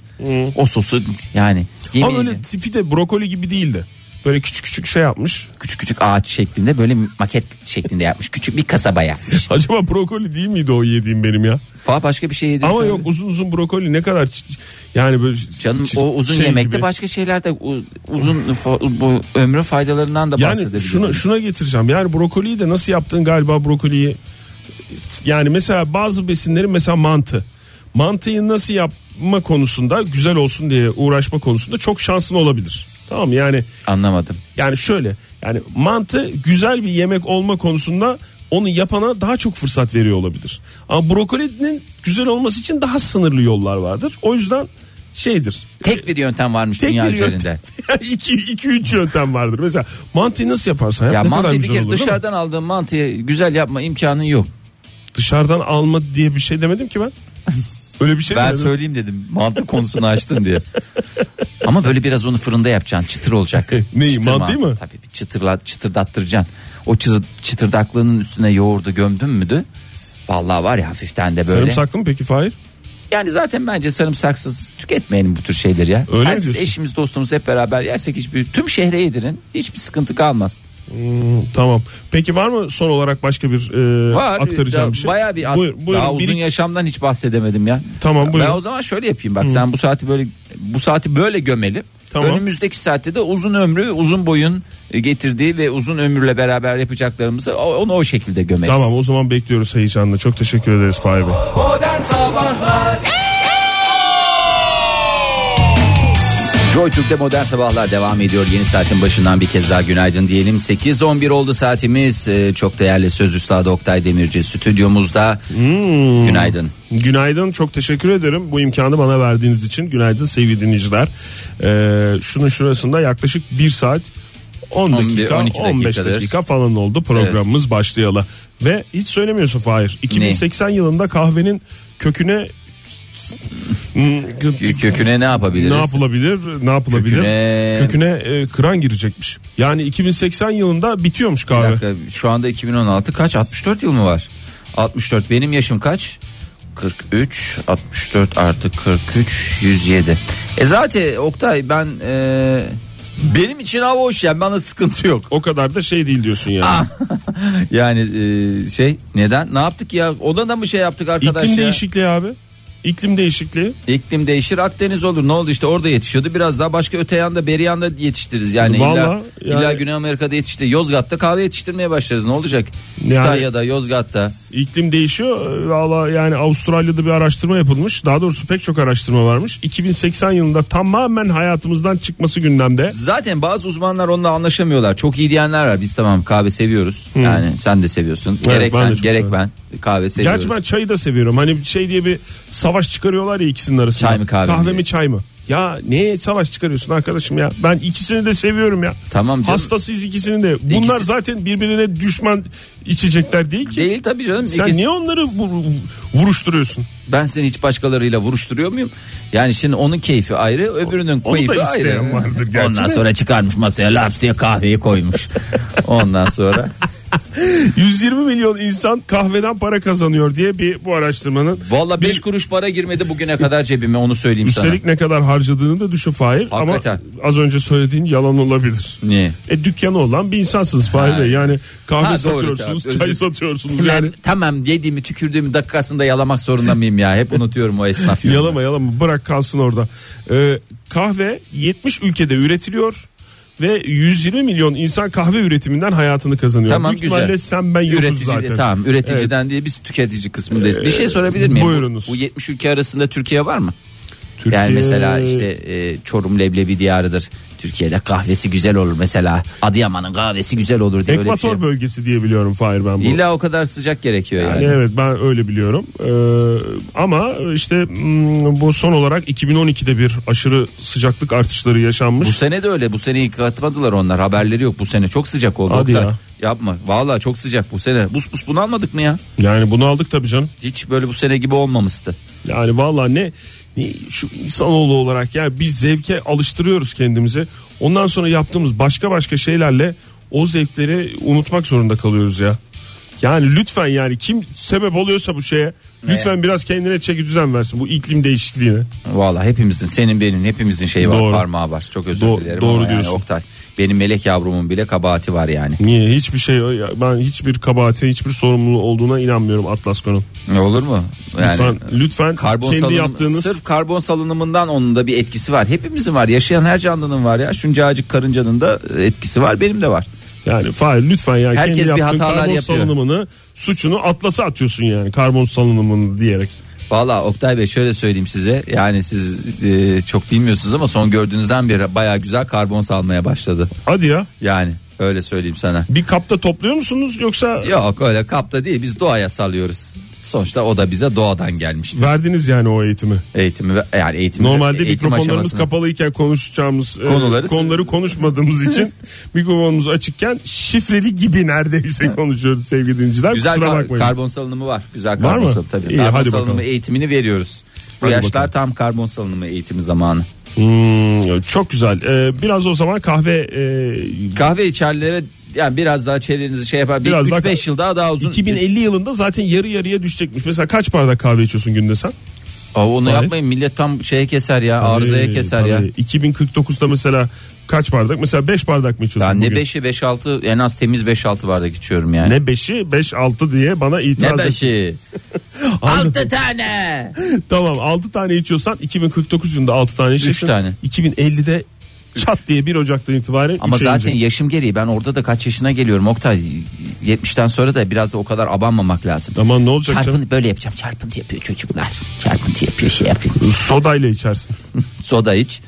[SPEAKER 2] O sosu yani.
[SPEAKER 3] Ama
[SPEAKER 2] Yemin
[SPEAKER 3] öyle
[SPEAKER 2] ederim.
[SPEAKER 3] tipi de brokoli gibi değildi. Böyle küçük küçük şey yapmış.
[SPEAKER 2] Küçük küçük ağaç şeklinde böyle maket şeklinde yapmış. Küçük bir kasaba
[SPEAKER 3] [laughs]
[SPEAKER 2] yapmış.
[SPEAKER 3] Acaba brokoli değil miydi o yediğim benim ya?
[SPEAKER 2] Falan başka bir şey yedi.
[SPEAKER 3] Ama yok uzun uzun brokoli ne kadar ç- ç- yani böyle
[SPEAKER 2] Canım
[SPEAKER 3] ç-
[SPEAKER 2] o uzun
[SPEAKER 3] şey
[SPEAKER 2] yemekte
[SPEAKER 3] gibi.
[SPEAKER 2] başka şeyler de u- uzun fo- bu ömrü faydalarından da
[SPEAKER 3] yani
[SPEAKER 2] bahsedebiliriz.
[SPEAKER 3] şuna şuna getireceğim. Yani brokoliyi de nasıl yaptın galiba brokoliyi yani mesela bazı besinlerin mesela mantı. Mantıyı nasıl yapma konusunda güzel olsun diye uğraşma konusunda çok şansın olabilir. Tamam mı? yani
[SPEAKER 2] Anlamadım.
[SPEAKER 3] yani şöyle yani mantı güzel bir yemek olma konusunda onu yapana daha çok fırsat veriyor olabilir. Ama brokolinin güzel olması için daha sınırlı yollar vardır. O yüzden şeydir
[SPEAKER 2] Tek bir yöntem varmış
[SPEAKER 3] Tek
[SPEAKER 2] dünya
[SPEAKER 3] bir
[SPEAKER 2] üzerinde.
[SPEAKER 3] [laughs] yöntem. iki, iki üç yöntem vardır. Mesela mantıyı nasıl yaparsan yap
[SPEAKER 2] Ya
[SPEAKER 3] ne kadar
[SPEAKER 2] mantıyı bir
[SPEAKER 3] güzel
[SPEAKER 2] kere
[SPEAKER 3] olur değil mi?
[SPEAKER 2] dışarıdan aldığın mantıyı güzel yapma imkanın yok.
[SPEAKER 3] Dışarıdan alma diye bir şey demedim ki ben.
[SPEAKER 2] [laughs]
[SPEAKER 3] Öyle bir şey
[SPEAKER 2] Ben
[SPEAKER 3] demedim.
[SPEAKER 2] söyleyeyim dedim mantı konusunu açtın
[SPEAKER 3] [laughs]
[SPEAKER 2] diye. Ama böyle biraz onu fırında yapacaksın çıtır olacak.
[SPEAKER 3] Neyi,
[SPEAKER 2] Çıtır
[SPEAKER 3] mantıyı mı?
[SPEAKER 2] Tabii bir çıtırlat, çıtırdattıracaksın. O çıtır, çıtırdaklığının üstüne yoğurdu gömdün müdü? Vallahi var ya hafiften de böyle.
[SPEAKER 3] Sarımsaklı mı peki Fahir?
[SPEAKER 2] Yani zaten bence sarımsaksız tüketmeyelim bu tür şeyleri ya.
[SPEAKER 3] Öyle mi
[SPEAKER 2] Herkes,
[SPEAKER 3] diyorsun?
[SPEAKER 2] eşimiz dostumuz hep beraber yersek hiçbir tüm şehre yedirin. Hiçbir sıkıntı kalmaz.
[SPEAKER 3] Tamam. Peki var mı son olarak başka bir e,
[SPEAKER 2] Var.
[SPEAKER 3] aktaracağım
[SPEAKER 2] da-
[SPEAKER 3] bir şey?
[SPEAKER 2] Bayağı bir az,
[SPEAKER 3] Buyur, buyurun.
[SPEAKER 2] daha
[SPEAKER 3] Bir
[SPEAKER 2] uzun
[SPEAKER 3] iki-
[SPEAKER 2] yaşamdan hiç bahsedemedim ya.
[SPEAKER 3] Tamam, buyurun.
[SPEAKER 2] Ben o zaman şöyle yapayım bak sen bu saati böyle bu saati böyle gömelim.
[SPEAKER 3] Tamam.
[SPEAKER 2] Önümüzdeki saatte de uzun ömrü, uzun boyun getirdiği ve uzun ömürle beraber yapacaklarımızı o- onu o şekilde gömeriz.
[SPEAKER 3] Tamam o zaman bekliyoruz heyecanla. Çok teşekkür ederiz Fahir Bey.
[SPEAKER 2] Joy Türk'te modern sabahlar devam ediyor. Yeni saatin başından bir kez daha günaydın diyelim. 8.11 oldu saatimiz. Ee, Çok değerli söz üstadı Oktay Demirci stüdyomuzda.
[SPEAKER 3] Hmm.
[SPEAKER 2] Günaydın.
[SPEAKER 3] Günaydın çok teşekkür ederim bu imkanı bana verdiğiniz için günaydın sevgili dinleyiciler ee, şunun şurasında yaklaşık 1 saat 10
[SPEAKER 2] 11,
[SPEAKER 3] dakika
[SPEAKER 2] 12
[SPEAKER 3] 15
[SPEAKER 2] dakikadır.
[SPEAKER 3] dakika falan oldu programımız başlayalı ve hiç söylemiyorsun Fahir 2080 yılında kahvenin köküne
[SPEAKER 2] Kö- Köküne ne yapabiliriz?
[SPEAKER 3] ne yapılabilir ne yapılabilir
[SPEAKER 2] Köküne-
[SPEAKER 3] köküne, e, kıran girecekmiş yani 2080 yılında bitiyormuş
[SPEAKER 2] Bir
[SPEAKER 3] kahve
[SPEAKER 2] dakika, şu anda 2016 kaç? 64 yıl mı var? 64 benim yaşım kaç? 43 64 artı 43 107. E zaten Oktay ben e, benim için hava hoş yani bana sıkıntı yok.
[SPEAKER 3] o kadar da şey değil diyorsun yani
[SPEAKER 2] Ah, Yani e, şey neden ne yaptık ya ona da mı şey yaptık arkadaş
[SPEAKER 3] iklim
[SPEAKER 2] ya?
[SPEAKER 3] değişikliği abi iklim değişikliği
[SPEAKER 2] İklim değişir Akdeniz olur ne oldu işte orada yetişiyordu biraz daha başka öte yanda beri yanda yetiştiririz yani illa,
[SPEAKER 3] Vallahi yani-
[SPEAKER 2] illa Güney Amerika'da yetişti Yozgat'ta kahve yetiştirmeye başlarız ne olacak
[SPEAKER 3] Yani-
[SPEAKER 2] Kütahya'da Yozgat'ta
[SPEAKER 3] İklim değişiyor. Valla yani Avustralya'da bir araştırma yapılmış. Daha doğrusu pek çok araştırma varmış. 2080 yılında tamamen hayatımızdan çıkması gündemde.
[SPEAKER 2] Zaten bazı uzmanlar onunla anlaşamıyorlar. Çok iyi diyenler var. Biz tamam kahve seviyoruz. Yani sen de seviyorsun. gerek
[SPEAKER 3] ben de
[SPEAKER 2] sen
[SPEAKER 3] çok
[SPEAKER 2] gerek
[SPEAKER 3] seviyorum.
[SPEAKER 2] ben kahve seviyoruz.
[SPEAKER 3] Gerçi ben çayı da seviyorum. Hani şey diye bir savaş çıkarıyorlar ya ikisinin arasında.
[SPEAKER 2] Çay mı kahve mi diye.
[SPEAKER 3] mi çay mı? Ya neye savaş çıkarıyorsun arkadaşım ya? Ben ikisini de seviyorum ya.
[SPEAKER 2] Tamam canım.
[SPEAKER 3] Hastasıyız ikisini de. Bunlar
[SPEAKER 2] İkisi-
[SPEAKER 3] zaten birbirine düşman içecekler değil ki.
[SPEAKER 2] Değil tabii canım.
[SPEAKER 3] Sen
[SPEAKER 2] İkisi-
[SPEAKER 3] niye onları vu- vuruşturuyorsun? [laughs]
[SPEAKER 2] Ben seni hiç başkalarıyla vuruşturuyor muyum? Yani şimdi onun keyfi ayrı, öbürünün
[SPEAKER 3] da
[SPEAKER 2] keyfi ayrı.
[SPEAKER 3] isteyen vardır gerçi
[SPEAKER 2] Ondan
[SPEAKER 3] de.
[SPEAKER 2] sonra çıkarmış masaya laps diye kahveyi
[SPEAKER 3] [laughs]
[SPEAKER 2] koymuş. Ondan sonra
[SPEAKER 3] 120 milyon insan kahveden para kazanıyor diye bir bu araştırmanın
[SPEAKER 2] valla
[SPEAKER 3] Bir-
[SPEAKER 2] 5 kuruş para girmedi bugüne kadar cebime onu söyleyeyim
[SPEAKER 3] Üstelik ne kadar harcadığını da düşün Fahir.
[SPEAKER 2] Hakikaten.
[SPEAKER 3] Ama az önce söylediğin yalan olabilir.
[SPEAKER 2] sana. Niye?
[SPEAKER 3] E dükkanı olan bir insansınız Fahir
[SPEAKER 2] Ha.
[SPEAKER 3] Bey. Yani kahve
[SPEAKER 2] Ha, doğru,
[SPEAKER 3] satıyorsunuz,
[SPEAKER 2] tabii.
[SPEAKER 3] çay
[SPEAKER 2] Özür-
[SPEAKER 3] satıyorsunuz.
[SPEAKER 2] Tamam,
[SPEAKER 3] Yani
[SPEAKER 2] tamam yediğimi tükürdüğümü dakikasında yalamak zorunda mıyım ya? Hep unutuyorum o esnaf. yönünü.
[SPEAKER 3] yalama yalama bırak kalsın orada. Ee, kahve 70 ülkede üretiliyor ve 120 milyon insan kahve üretiminden hayatını kazanıyor.
[SPEAKER 2] Tamam,
[SPEAKER 3] Büyük
[SPEAKER 2] güzel.
[SPEAKER 3] ihtimalle sen ben yokuz
[SPEAKER 2] Üretici
[SPEAKER 3] zaten. Ee,
[SPEAKER 2] tamam üreticiden değil biz tüketici kısmındayız. bir şey sorabilir miyim?
[SPEAKER 3] buyurunuz.
[SPEAKER 2] Bu, bu 70 ülke arasında Türkiye var mı?
[SPEAKER 3] Türkiye-
[SPEAKER 2] Yani mesela işte e, Çorum leblebi diyarıdır. Türkiye'de kahvesi güzel olur mesela. Adıyaman'ın kahvesi güzel olur diye öyle bir şey.
[SPEAKER 3] Ekvator bölgesi diye biliyorum Fahir ben bunu.
[SPEAKER 2] İlla o kadar sıcak gerekiyor yani.
[SPEAKER 3] Yani evet ben öyle biliyorum. Ee, ama işte mm, bu son olarak 2012'de bir aşırı sıcaklık artışları yaşanmış.
[SPEAKER 2] Bu sene de öyle. Bu seneyi katmadılar onlar. Haberleri yok. Bu sene çok sıcak oldu.
[SPEAKER 3] Hadi
[SPEAKER 2] Oktay.
[SPEAKER 3] ya.
[SPEAKER 2] Yapma. Vallahi çok sıcak bu sene. Bus bus bunu almadık mı ya?
[SPEAKER 3] Yani bunu aldık tabii canım.
[SPEAKER 2] Hiç böyle bu sene gibi olmamıştı.
[SPEAKER 3] Yani vallahi ne, ne şu insanoğlu olarak ya bir zevke alıştırıyoruz kendimizi. Ondan sonra yaptığımız başka başka şeylerle o zevkleri unutmak zorunda kalıyoruz ya. Yani lütfen yani kim sebep oluyorsa bu şeye lütfen biraz kendine çeki düzen versin bu iklim değişikliğine.
[SPEAKER 2] Vallahi hepimizin senin benim hepimizin şeyi var
[SPEAKER 3] Doğru.
[SPEAKER 2] parmağı var. Çok özür
[SPEAKER 3] Do-
[SPEAKER 2] dilerim.
[SPEAKER 3] doğru
[SPEAKER 2] ama yani
[SPEAKER 3] diyorsun.
[SPEAKER 2] Oktay benim melek yavrumun bile kabahati var yani.
[SPEAKER 3] Niye hiçbir şey ben hiçbir kabahate hiçbir sorumluluğu olduğuna inanmıyorum Atlasko'nun.
[SPEAKER 2] Ne E, olur mu? Yani e,
[SPEAKER 3] Lütfen lütfen
[SPEAKER 2] karbon
[SPEAKER 3] kendi
[SPEAKER 2] salınım-
[SPEAKER 3] yaptığınız
[SPEAKER 2] sırf karbon salınımından onun da bir etkisi var. Hepimizin var. Yaşayan her canlının var ya. Şuncacık karıncanın da e, etkisi var. Benim de var.
[SPEAKER 3] yani Fahir lütfen ya
[SPEAKER 2] Herkes bir
[SPEAKER 3] kendi yaptığın
[SPEAKER 2] hatalar
[SPEAKER 3] karbon
[SPEAKER 2] yapıyor.
[SPEAKER 3] salınımını suçunu Atlas'a atıyorsun yani karbon salınımını diyerek.
[SPEAKER 2] Valla Oktay Bey şöyle söyleyeyim size. Yani siz e, çok bilmiyorsunuz ama son gördüğünüzden beri baya güzel karbon salmaya başladı.
[SPEAKER 3] Hadi ya
[SPEAKER 2] Yani öyle söyleyeyim sana.
[SPEAKER 3] bir kapta topluyor musunuz yoksa
[SPEAKER 2] Yok öyle kapta değil biz doğaya salıyoruz. Sonuçta o da bize doğadan gelmişti.
[SPEAKER 3] verdiniz yani o eğitimi?
[SPEAKER 2] Eğitimi ve- yani eğitimi
[SPEAKER 3] Normalde
[SPEAKER 2] eğitim
[SPEAKER 3] mikrofonlarımız
[SPEAKER 2] aşamasını-
[SPEAKER 3] kapalıyken konuşacağımız e,
[SPEAKER 2] Konuları-
[SPEAKER 3] konuları
[SPEAKER 2] [laughs]
[SPEAKER 3] konuşmadığımız için mikrofonumuz açıkken şifreli gibi neredeyse konuşuyoruz sevgili dinleyiciler.
[SPEAKER 2] Güzel
[SPEAKER 3] Kusura
[SPEAKER 2] kar-
[SPEAKER 3] bakmayın.
[SPEAKER 2] karbon salınımı var. Güzel karbon
[SPEAKER 3] mı?
[SPEAKER 2] salınımı tabii.
[SPEAKER 3] İyi,
[SPEAKER 2] karbon
[SPEAKER 3] hadi
[SPEAKER 2] salınımı
[SPEAKER 3] bakalım.
[SPEAKER 2] eğitimini veriyoruz. Bu
[SPEAKER 3] Hadi
[SPEAKER 2] yaşlar
[SPEAKER 3] bakalım.
[SPEAKER 2] tam karbon salınımı eğitimi zamanı.
[SPEAKER 3] Hmm, çok güzel. Ee, biraz o zaman kahve e,
[SPEAKER 2] Kahve içerlere yani biraz daha çevrenizi şey yapar.
[SPEAKER 3] Biraz daha-
[SPEAKER 2] 3-5 yıl daha daha uzun.
[SPEAKER 3] 2050 yılında zaten yarı yarıya düşecekmiş. Mesela kaç bardak kahve içiyorsun günde sen?
[SPEAKER 2] Aa, onu
[SPEAKER 3] Tabii.
[SPEAKER 2] yapmayın millet tam şeye keser ya arızaya
[SPEAKER 3] Ee,
[SPEAKER 2] keser
[SPEAKER 3] tabii.
[SPEAKER 2] ya.
[SPEAKER 3] 2049'da mesela kaç bardak? Mesela 5 bardak mı içiyorsun
[SPEAKER 2] Ben ne
[SPEAKER 3] bugün?
[SPEAKER 2] 5'i 5-6 en az temiz 5-6 bardak içiyorum yani.
[SPEAKER 3] Ne 5'i 5 6 diye bana
[SPEAKER 2] Ne
[SPEAKER 3] itiraz et.
[SPEAKER 2] 5'i? 6 tane.
[SPEAKER 3] [laughs] Tamam 6 tane içiyorsan 2049 yılında 6 tane içiyorsun.
[SPEAKER 2] tane.
[SPEAKER 3] 2050'de çat diye 1 Ocak'tan itibaren
[SPEAKER 2] Ama
[SPEAKER 3] üçe
[SPEAKER 2] zaten
[SPEAKER 3] inecek.
[SPEAKER 2] yaşım gereği ben orada da kaç yaşına geliyorum Oktay. 70'ten sonra da biraz da o kadar abanmamak lazım.
[SPEAKER 3] Aman ne olacak
[SPEAKER 2] Çarpıntı
[SPEAKER 3] canım?
[SPEAKER 2] böyle yapacağım. Çarpıntı yapıyor çocuklar. Çarpıntı yapıyor şey yapıyor.
[SPEAKER 3] Sodayla içersin.
[SPEAKER 2] Soda
[SPEAKER 3] [laughs]
[SPEAKER 2] iç.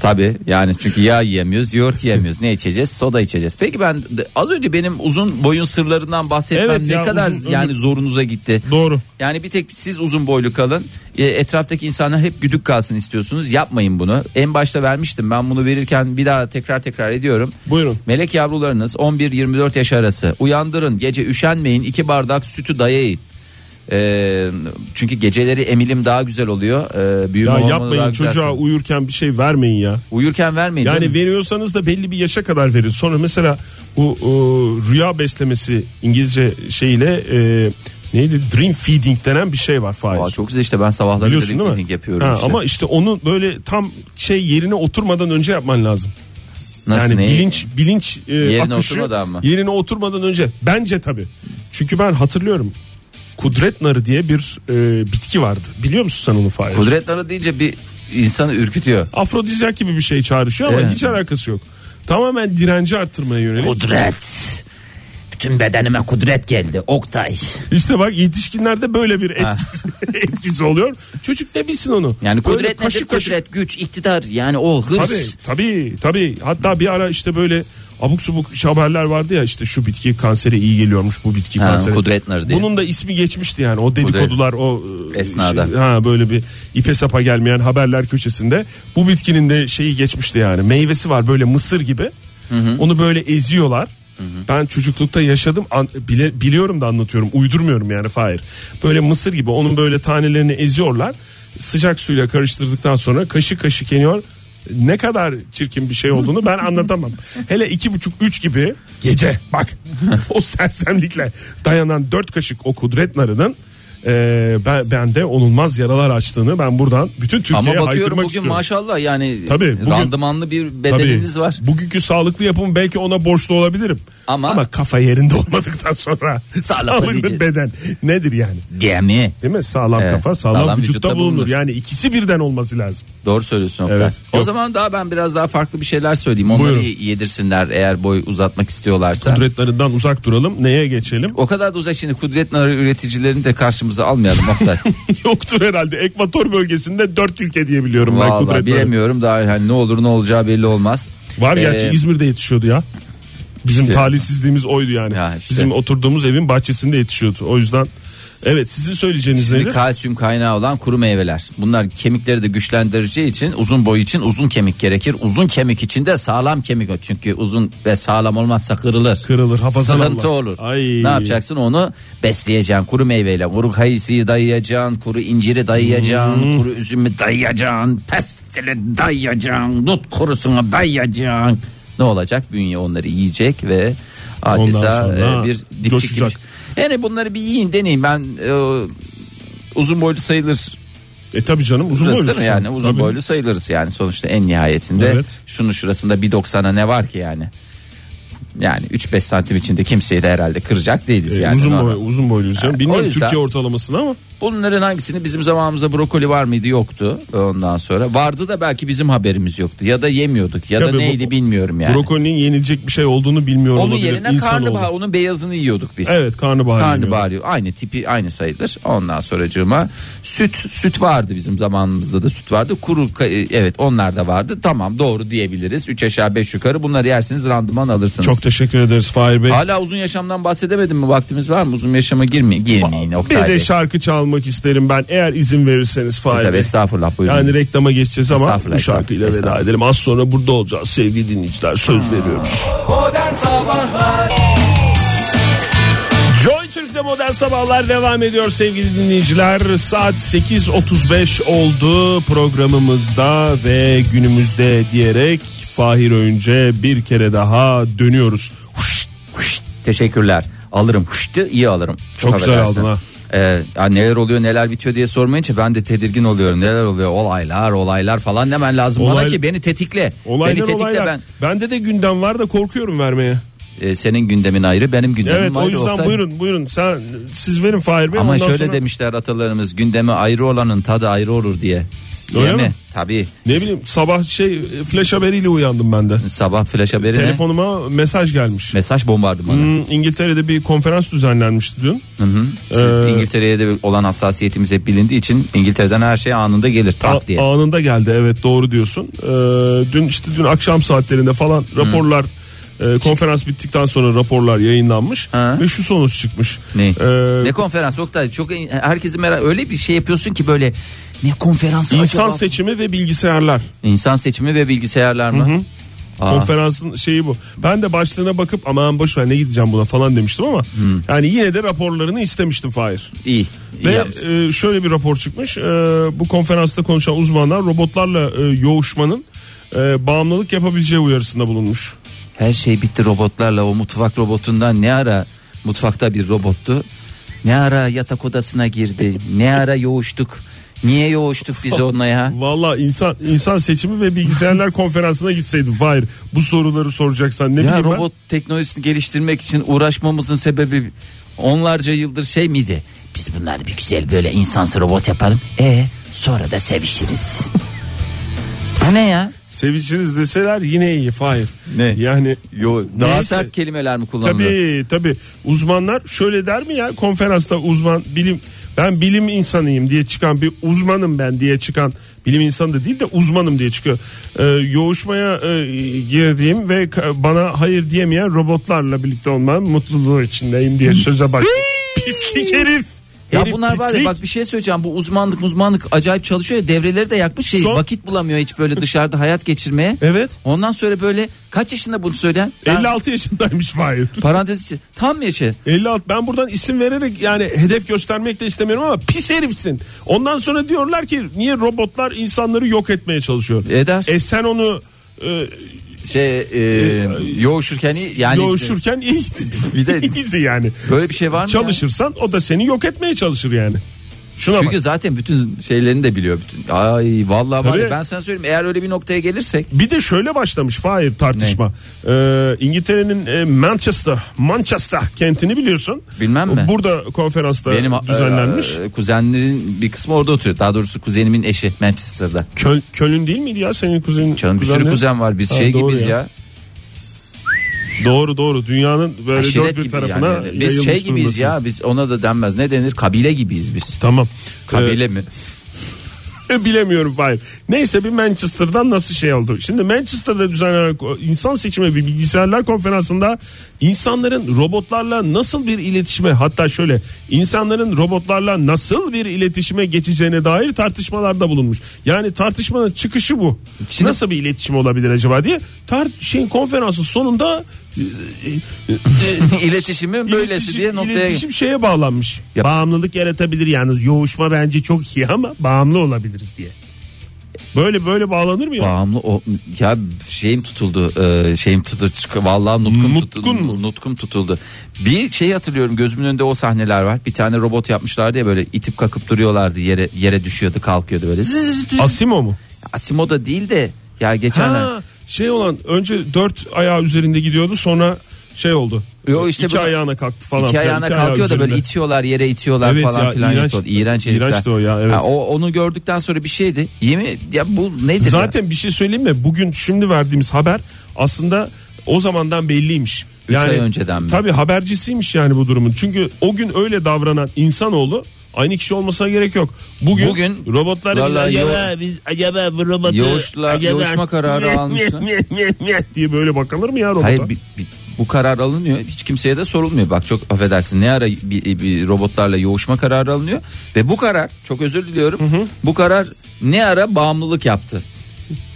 [SPEAKER 2] Tabi yani çünkü yağ yiyemiyoruz, yoğurt yiyemiyoruz. Ne içeceğiz? Soda içeceğiz. Peki ben de- az önce benim uzun boyun sırlarından bahsetmem
[SPEAKER 3] Evet
[SPEAKER 2] ne
[SPEAKER 3] ya,
[SPEAKER 2] kadar
[SPEAKER 3] uzun ömür-
[SPEAKER 2] yani zorunuza gitti.
[SPEAKER 3] Doğru.
[SPEAKER 2] Yani bir tek siz uzun boylu kalın. E, Etraftaki insanlar hep güdük kalsın istiyorsunuz. Yapmayın bunu. En başta vermiştim. Ben bunu verirken bir daha tekrar tekrar ediyorum.
[SPEAKER 3] Buyurun.
[SPEAKER 2] Melek yavrularınız 11-24 yaş arası. Uyandırın. Gece üşenmeyin. 2 bardak sütü dayayın. E, çünkü geceleri emilim daha güzel oluyor. E, büyüme
[SPEAKER 3] Ya
[SPEAKER 2] hormonu daha
[SPEAKER 3] yapmayın
[SPEAKER 2] güzel.
[SPEAKER 3] çocuğa uyurken bir şey vermeyin ya.
[SPEAKER 2] Uyurken vermeyin.
[SPEAKER 3] Yani
[SPEAKER 2] E canım.
[SPEAKER 3] veriyorsanız da belli bir yaşa kadar verin. Sonra mesela bu e, rüya beslemesi İngilizce şeyle e, neydi? Dream feeding denen bir şey var Fahir.
[SPEAKER 2] Aa, çok güzel işte ben sabahları
[SPEAKER 3] Biliyorsun değil mi?
[SPEAKER 2] breastfeeding yapıyorum
[SPEAKER 3] Ha,
[SPEAKER 2] işte.
[SPEAKER 3] Ama işte onu böyle tam şey yerine oturmadan önce yapman lazım.
[SPEAKER 2] Nasıl
[SPEAKER 3] yani
[SPEAKER 2] neyi?
[SPEAKER 3] bilinç bilinç e,
[SPEAKER 2] Yerine
[SPEAKER 3] akışı
[SPEAKER 2] oturmadan mı?
[SPEAKER 3] yerine oturmadan önce bence tabii. Çünkü ben hatırlıyorum. Kudret narı diye bir e, bitki vardı. Biliyor musun sen onu Fahir?
[SPEAKER 2] Kudret narı deyince bir insanı ürkütüyor.
[SPEAKER 3] afrodizyak gibi bir şey çağrışıyor ama
[SPEAKER 2] Evet.
[SPEAKER 3] hiç alakası yok. Tamamen direnci arttırmaya yönelik.
[SPEAKER 2] Kudret. Bütün bedenime kudret geldi. Oktay.
[SPEAKER 3] İşte bak yetişkinlerde böyle bir etkisi, [laughs] etkisi oluyor. Çocuk ne bilsin onu?
[SPEAKER 2] Yani
[SPEAKER 3] Böyle
[SPEAKER 2] kudret nedir?
[SPEAKER 3] kaşık kaşık-
[SPEAKER 2] Kudret, güç, iktidar. Yani o
[SPEAKER 3] Tabii
[SPEAKER 2] hırs.
[SPEAKER 3] tabii tabii. Hatta bir ara işte böyle abuk subuk haberler vardı ya işte şu bitki kansere iyi geliyormuş bu bitki
[SPEAKER 2] Ha,
[SPEAKER 3] kansere.
[SPEAKER 2] kudret narı diye.
[SPEAKER 3] Bunun da ismi geçmişti yani o dedikodular o e,
[SPEAKER 2] Esnada.
[SPEAKER 3] şey- ha böyle bir ipe sapa gelmeyen haberler köşesinde bu bitkinin de şeyi geçmişti yani meyvesi var böyle mısır gibi. Onu böyle eziyorlar. Ben çocuklukta yaşadım an- bile- biliyorum da anlatıyorum uydurmuyorum yani Fahir. Böyle mısır gibi onun böyle tanelerini eziyorlar. Sıcak suyla karıştırdıktan sonra kaşık kaşık yeniyor. Ne kadar çirkin bir şey olduğunu ben anlatamam. Hele iki buçuk üç gibi gece bak [laughs] o sersemlikle dayanan dört kaşık o kudret narının e, ben, bende onulmaz yaralar açtığını ben buradan bütün
[SPEAKER 2] Ama
[SPEAKER 3] Türkiye'ye
[SPEAKER 2] bakıyorum
[SPEAKER 3] haykırmak
[SPEAKER 2] bugün
[SPEAKER 3] istiyorum.
[SPEAKER 2] maşallah yani
[SPEAKER 3] Tabii, bugün-
[SPEAKER 2] randımanlı bir
[SPEAKER 3] Tabii.
[SPEAKER 2] bedeniniz var.
[SPEAKER 3] Bugünkü sağlıklı yapım belki ona borçlu olabilirim.
[SPEAKER 2] Ama-
[SPEAKER 3] Ama, kafa yerinde
[SPEAKER 2] [laughs]
[SPEAKER 3] olmadıktan sonra sağlıklı
[SPEAKER 2] diyeceğiz.
[SPEAKER 3] beden nedir yani?
[SPEAKER 2] Gemi.
[SPEAKER 3] Değil mi? Sağlam
[SPEAKER 2] Evet,
[SPEAKER 3] kafa sağlam,
[SPEAKER 2] sağlam
[SPEAKER 3] vücutta,
[SPEAKER 2] vücutta
[SPEAKER 3] bulunur.
[SPEAKER 2] bulunur.
[SPEAKER 3] Yani ikisi birden olması lazım.
[SPEAKER 2] Doğru söylüyorsun Oktay.
[SPEAKER 3] Evet,
[SPEAKER 2] o
[SPEAKER 3] yok.
[SPEAKER 2] zaman daha ben biraz daha farklı bir şeyler söyleyeyim. Onları
[SPEAKER 3] Buyurun.
[SPEAKER 2] yedirsinler eğer boy uzatmak istiyorlarsa.
[SPEAKER 3] Kudretlerinden uzak duralım.
[SPEAKER 2] [laughs]
[SPEAKER 3] Neye geçelim?
[SPEAKER 2] O kadar da uzak şimdi kudret narı üreticilerini de karşımıza almayalım
[SPEAKER 3] [laughs]
[SPEAKER 2] Oktay.
[SPEAKER 3] Yoktur herhalde. Ekvator bölgesinde dört ülke diye biliyorum ben
[SPEAKER 2] Vallahi
[SPEAKER 3] kudretleri.
[SPEAKER 2] bilemiyorum daha hani ne olur ne olacağı belli olmaz.
[SPEAKER 3] Var gerçi
[SPEAKER 2] Ee,
[SPEAKER 3] İzmir'de yetişiyordu ya. Bizim
[SPEAKER 2] İşte.
[SPEAKER 3] talihsizliğimiz oydu yani.
[SPEAKER 2] Ya işte.
[SPEAKER 3] Bizim oturduğumuz evin bahçesinde yetişiyordu. O yüzden evet sizin söyleyeceğiniz
[SPEAKER 2] Şimdi
[SPEAKER 3] neydi?
[SPEAKER 2] kalsiyum kaynağı olan kuru meyveler. Bunlar kemikleri de güçlendireceği için uzun boy için uzun kemik gerekir. Uzun kemik için de sağlam kemik o. Çünkü uzun ve sağlam olmazsa kırılır.
[SPEAKER 3] Kırılır, hafızalı
[SPEAKER 2] Sıkıntı
[SPEAKER 3] Allah.
[SPEAKER 2] olur.
[SPEAKER 3] Ay.
[SPEAKER 2] Ne yapacaksın onu besleyeceksin kuru meyveyle. Kuru kayısıyı dayayacaksın, kuru inciri dayayacaksın,
[SPEAKER 3] Hmm.
[SPEAKER 2] kuru üzümü dayayacaksın, pestili dayayacaksın, dut kurusunu dayayacaksın. Ne olacak? Bünye onları yiyecek ve Adeta
[SPEAKER 3] Ondan sonra
[SPEAKER 2] e, bir dipçik
[SPEAKER 3] coşacak.
[SPEAKER 2] gibi. Yani bunları bir yiyin deneyin. Ben e, uzun boylu sayılır
[SPEAKER 3] E tabii canım uzun
[SPEAKER 2] Burası değil
[SPEAKER 3] boylu.
[SPEAKER 2] mi yani uzun
[SPEAKER 3] Tabii.
[SPEAKER 2] boylu sayılırız yani sonuçta en nihayetinde
[SPEAKER 3] Evet.
[SPEAKER 2] şunun şurasında 1.90'a ne var ki yani yani 3-5 santim içinde kimseyi de herhalde kıracak değiliz
[SPEAKER 3] E,
[SPEAKER 2] yani.
[SPEAKER 3] uzun,
[SPEAKER 2] normal.
[SPEAKER 3] boy, uzun boyluyuz canım.
[SPEAKER 2] Yani
[SPEAKER 3] Bilmiyorum
[SPEAKER 2] o yüzden-
[SPEAKER 3] Türkiye ortalamasını ama
[SPEAKER 2] Bunların hangisini bizim zamanımızda brokoli var mıydı yoktu ondan sonra vardı da belki bizim haberimiz yoktu ya da yemiyorduk ya da
[SPEAKER 3] Tabii bu-
[SPEAKER 2] neydi bilmiyorum yani.
[SPEAKER 3] brokolinin yenilecek bir şey olduğunu bilmiyor
[SPEAKER 2] Onun
[SPEAKER 3] olabilir.
[SPEAKER 2] yerine
[SPEAKER 3] İnsanoğlu.
[SPEAKER 2] karnabahar onun beyazını yiyorduk biz.
[SPEAKER 3] Evet karnabahar. yeniyor.
[SPEAKER 2] Karnabahar yiyor. aynı tipi aynı sayılır. Ondan sonracığıma süt süt vardı bizim zamanımızda da süt vardı. Kuru ka- evet onlar da vardı. Tamam doğru diyebiliriz. 3 aşağı 5 yukarı bunları yersiniz randıman alırsınız.
[SPEAKER 3] Çok teşekkür ederiz Fahir Bey.
[SPEAKER 2] Hala uzun yaşamdan bahsedemedim mi? Vaktimiz var mı? Uzun yaşama girmeyin. Girmeyin
[SPEAKER 3] Bir
[SPEAKER 2] Oktay
[SPEAKER 3] de
[SPEAKER 2] Bey. E,
[SPEAKER 3] şarkı çalmak isterim ben eğer izin verirseniz Fahir
[SPEAKER 2] Tabii
[SPEAKER 3] Bey.
[SPEAKER 2] estağfurullah buyurun.
[SPEAKER 3] Yani reklama geçeceğiz ama
[SPEAKER 2] Estağfurullah,
[SPEAKER 3] bu şarkıyla
[SPEAKER 2] estağfurullah.
[SPEAKER 3] veda edelim. Az sonra burada olacağız sevgili dinleyiciler söz veriyoruz. Joy Türk'te modern sabahlar devam ediyor sevgili dinleyiciler. Saat 8.35 oldu programımızda ve günümüzde diyerek Fahir Öğünce bir kere daha dönüyoruz. Huşt, huşt.
[SPEAKER 2] Teşekkürler. Alırım. Huştu iyi alırım.
[SPEAKER 3] Çok güzel
[SPEAKER 2] affedersin.
[SPEAKER 3] aldın ha.
[SPEAKER 2] Ee, ya neler oluyor neler bitiyor diye sormayınca ben de tedirgin oluyorum. Neler oluyor olaylar olaylar falan demen lazım bana
[SPEAKER 3] Olay-
[SPEAKER 2] ki beni tetikle. beni
[SPEAKER 3] Olaylar
[SPEAKER 2] tetikle
[SPEAKER 3] olaylar.
[SPEAKER 2] ben.
[SPEAKER 3] Bende de gündem var da korkuyorum vermeye.
[SPEAKER 2] Ee, senin gündemin ayrı benim gündemim
[SPEAKER 3] Evet
[SPEAKER 2] ayrı.
[SPEAKER 3] o yüzden
[SPEAKER 2] Oktay.
[SPEAKER 3] buyurun buyurun sen siz verin Fahir Bey.
[SPEAKER 2] Ama
[SPEAKER 3] ondan
[SPEAKER 2] şöyle
[SPEAKER 3] sonra-
[SPEAKER 2] demişler atalarımız gündemi ayrı olanın tadı ayrı olur diye.
[SPEAKER 3] Öyle
[SPEAKER 2] Değil mi?
[SPEAKER 3] mi?
[SPEAKER 2] Tabii.
[SPEAKER 3] Ne bileyim sabah şey flash haberiyle uyandım ben de.
[SPEAKER 2] Sabah flash haberine
[SPEAKER 3] Telefonuma mesaj gelmiş.
[SPEAKER 2] mesaj bombardımanı.
[SPEAKER 3] Hmm, İngiltere'de bir konferans düzenlenmişti dün. Ee,
[SPEAKER 2] İngiltere'ye de olan hassasiyetimiz hep bilindiği için İngiltere'den her şey anında gelir tak
[SPEAKER 3] A-
[SPEAKER 2] diye.
[SPEAKER 3] Anında geldi evet doğru diyorsun. Ee, dün işte dün akşam saatlerinde falan raporlar e, konferans bittikten sonra raporlar yayınlanmış
[SPEAKER 2] Ha.
[SPEAKER 3] ve şu sonuç çıkmış.
[SPEAKER 2] Ne?
[SPEAKER 3] Ee,
[SPEAKER 2] ne konferans Oktay? Çok herkesi merak öyle bir şey yapıyorsun ki böyle ne konferans
[SPEAKER 3] insan
[SPEAKER 2] acaba?
[SPEAKER 3] seçimi ve bilgisayarlar
[SPEAKER 2] İnsan seçimi ve bilgisayarlar mı? Aa,
[SPEAKER 3] konferansın şeyi bu. Ben de başlığına bakıp aman boş ver ne gideceğim buna falan demiştim ama yani yine de raporlarını istemiştim Fahir.
[SPEAKER 2] iyi. iyi
[SPEAKER 3] Ve
[SPEAKER 2] yapmışsın.
[SPEAKER 3] e, şöyle bir rapor çıkmış. E, bu konferansta konuşan uzmanlar robotlarla e, yoğuşmanın e, bağımlılık yapabileceği uyarısında bulunmuş.
[SPEAKER 2] Her şey bitti robotlarla o mutfak robotundan ne ara mutfakta bir robottu. Ne ara yatak odasına girdi. Ne ara yoğuştuk. Niye yoğuştuk biz onunla ya?
[SPEAKER 3] Valla insan insan seçimi ve bilgisayarlar [laughs] konferansına gitseydin Fahir bu soruları soracaksan ne
[SPEAKER 2] Ya
[SPEAKER 3] bileyim
[SPEAKER 2] robot teknolojisini geliştirmek için uğraşmamızın sebebi onlarca yıldır şey miydi? Biz bunları bir güzel böyle insansı robot yapalım. E sonra da sevişiriz. Bu ne ya?
[SPEAKER 3] ben sevişiniz deseler yine iyi Fahir.
[SPEAKER 2] Ne?
[SPEAKER 3] Yani
[SPEAKER 4] Yo,
[SPEAKER 2] Daha
[SPEAKER 3] Neyse.
[SPEAKER 2] sert kelimeler mi kullanılıyor?
[SPEAKER 3] tabi tabi uzmanlar şöyle der mi ya konferansta uzman bilim ben bilim insanıyım diye çıkan bir uzmanım ben diye çıkan bilim insanı da değil de uzmanım diye çıkıyor. Ee, yoğuşmaya e, girdiğim ve ka- bana hayır diyemeyen robotlarla birlikte olmanın mutluluğu içindeyim diye söze başlıyor. pislik herif.
[SPEAKER 2] Ya
[SPEAKER 3] Herif
[SPEAKER 2] bunlar var ya
[SPEAKER 3] pislik.
[SPEAKER 2] bak bir şey söyleyeceğim bu uzmanlık uzmanlık acayip çalışıyor ya devreleri de yakmış şey
[SPEAKER 3] Son-
[SPEAKER 2] vakit bulamıyor hiç böyle dışarıda hayat geçirmeye.
[SPEAKER 3] Evet.
[SPEAKER 2] Ondan sonra böyle kaç yaşında bunu söyleyen? Ben-
[SPEAKER 3] 56 yaşındaymış Fahir.
[SPEAKER 2] Parantez içi tam yaşı.
[SPEAKER 3] 56 ben buradan isim vererek yani hedef göstermek de istemiyorum ama pis herifsin. Ondan sonra diyorlar ki niye robotlar insanları yok etmeye çalışıyor.
[SPEAKER 2] Eder.
[SPEAKER 3] E sen onu e,
[SPEAKER 2] Şey e, yoğuşurken iyi- yani
[SPEAKER 3] yoğuşurken iyiydi.
[SPEAKER 2] [laughs] Bir de-
[SPEAKER 3] İyiydi yani.
[SPEAKER 2] böyle bir şey var mı? ya?
[SPEAKER 3] Çalışırsan o da seni yok etmeye çalışır yani. Şuna
[SPEAKER 2] Çünkü
[SPEAKER 3] bak.
[SPEAKER 2] zaten bütün şeylerini de biliyor. Bütün. Ay vallahi var ya,
[SPEAKER 3] Tabii.
[SPEAKER 2] ben sana söyleyeyim eğer öyle bir noktaya gelirsek.
[SPEAKER 3] Bir de şöyle başlamış Fahir tartışma. E, İngiltere'nin e, Manchester, Manchester kentini biliyorsun.
[SPEAKER 2] Bilmem mi?
[SPEAKER 3] Burada konferansta
[SPEAKER 2] Benim
[SPEAKER 3] düzenlenmiş.
[SPEAKER 2] e, kuzenlerin bir kısmı orada oturuyor. Daha doğrusu kuzenimin eşi Manchester'da.
[SPEAKER 3] Köl, Köln değil miydi ya senin kuzenin?
[SPEAKER 2] Canım bir sürü
[SPEAKER 3] kuzenlerin?
[SPEAKER 2] kuzen var. Biz
[SPEAKER 3] Ha,
[SPEAKER 2] şey
[SPEAKER 3] doğru
[SPEAKER 2] gibiyiz
[SPEAKER 3] ya.
[SPEAKER 2] ya.
[SPEAKER 3] Doğru doğru dünyanın böyle
[SPEAKER 2] Aşiret
[SPEAKER 3] dört bir
[SPEAKER 2] gibi
[SPEAKER 3] tarafına
[SPEAKER 2] yani. Biz
[SPEAKER 3] yayılmış
[SPEAKER 2] şey gibiyiz
[SPEAKER 3] durumdasınız.
[SPEAKER 2] ya. Biz ona da denmez. Ne denir? Kabile gibiyiz biz.
[SPEAKER 3] Tamam.
[SPEAKER 2] Kabile
[SPEAKER 3] [laughs]
[SPEAKER 2] mi?
[SPEAKER 3] Ee, bilemiyorum hayır. Neyse bir Manchester'dan nasıl şey oldu. Şimdi Manchester'da düzenlenen ko- insan seçimi bir bilgisayarlar konferansında insanların robotlarla nasıl bir iletişime hatta şöyle insanların robotlarla nasıl bir iletişime geçeceğine dair tartışmalarda bulunmuş. Yani tartışmanın çıkışı bu.
[SPEAKER 2] Şimdi-
[SPEAKER 3] nasıl bir iletişim olabilir acaba diye tart şeyin konferansın sonunda e, e, e,
[SPEAKER 2] İletişimin böylesi
[SPEAKER 3] İletişim-
[SPEAKER 2] diye noktaya
[SPEAKER 3] iletişim şeye bağlanmış.
[SPEAKER 2] Ya-
[SPEAKER 3] Bağımlılık yaratabilir yalnız. Yoğuşma bence çok iyi ama bağımlı olabiliriz diye. Böyle böyle bağlanır mı ya?
[SPEAKER 2] Bağımlı o ya şeyim tutuldu e, şeyim tutuldu çık- vallahi nutkum tutuldu,
[SPEAKER 3] Nutkun mu?
[SPEAKER 2] nutkum tutuldu. Bir şey hatırlıyorum gözümün önünde o sahneler var. Bir tane robot yapmışlardı ya böyle itip kakıp duruyorlardı yere yere düşüyordu kalkıyordu böyle. Zzzz.
[SPEAKER 3] Asimo mu?
[SPEAKER 2] Asimo da değil de ya geçenler.
[SPEAKER 3] Ha, şey olan önce dört ayağı üzerinde gidiyordu sonra şey oldu.
[SPEAKER 2] Yo, işte
[SPEAKER 3] iki
[SPEAKER 2] bu-
[SPEAKER 3] ayağına kalktı falan.
[SPEAKER 2] İki
[SPEAKER 3] filan,
[SPEAKER 2] ayağına
[SPEAKER 3] iki ayağı
[SPEAKER 2] kalkıyor da böyle
[SPEAKER 3] üzerinde.
[SPEAKER 2] itiyorlar yere itiyorlar
[SPEAKER 3] Evet
[SPEAKER 2] falan
[SPEAKER 3] ya,
[SPEAKER 2] filan.
[SPEAKER 3] iğrenç.
[SPEAKER 2] yapıyorlar. İğrenç herifler.
[SPEAKER 3] İğrençti o ya, evet.
[SPEAKER 2] Ha, o, onu gördükten sonra bir şeydi. Yemin ya bu nedir ya?
[SPEAKER 3] Zaten bir şey söyleyeyim mi? Bugün şimdi verdiğimiz haber aslında o zamandan belliymiş.
[SPEAKER 2] Üç ay önceden mi?
[SPEAKER 3] Tabii habercisiymiş yani bu durumun. Çünkü o gün öyle davranan insanoğlu aynı kişi olmasına gerek yok. Bugün,
[SPEAKER 2] Bugün
[SPEAKER 3] robotlar
[SPEAKER 2] Valla
[SPEAKER 3] bile,
[SPEAKER 2] yo-
[SPEAKER 3] "Acaba biz acaba bu robotu
[SPEAKER 2] Yoğuşla- yoğuşma
[SPEAKER 3] [laughs]
[SPEAKER 2] kararı almışlar."
[SPEAKER 3] diye böyle bakılır mı ya robota?
[SPEAKER 2] Hayır bi- bi- bu karar alınıyor. Hiç kimseye de sorulmuyor. Bak çok affedersin ne ara bir, bir robotlarla yoğuşma kararı alınıyor ve bu karar çok özür diliyorum. Bu karar ne ara bağımlılık yaptı.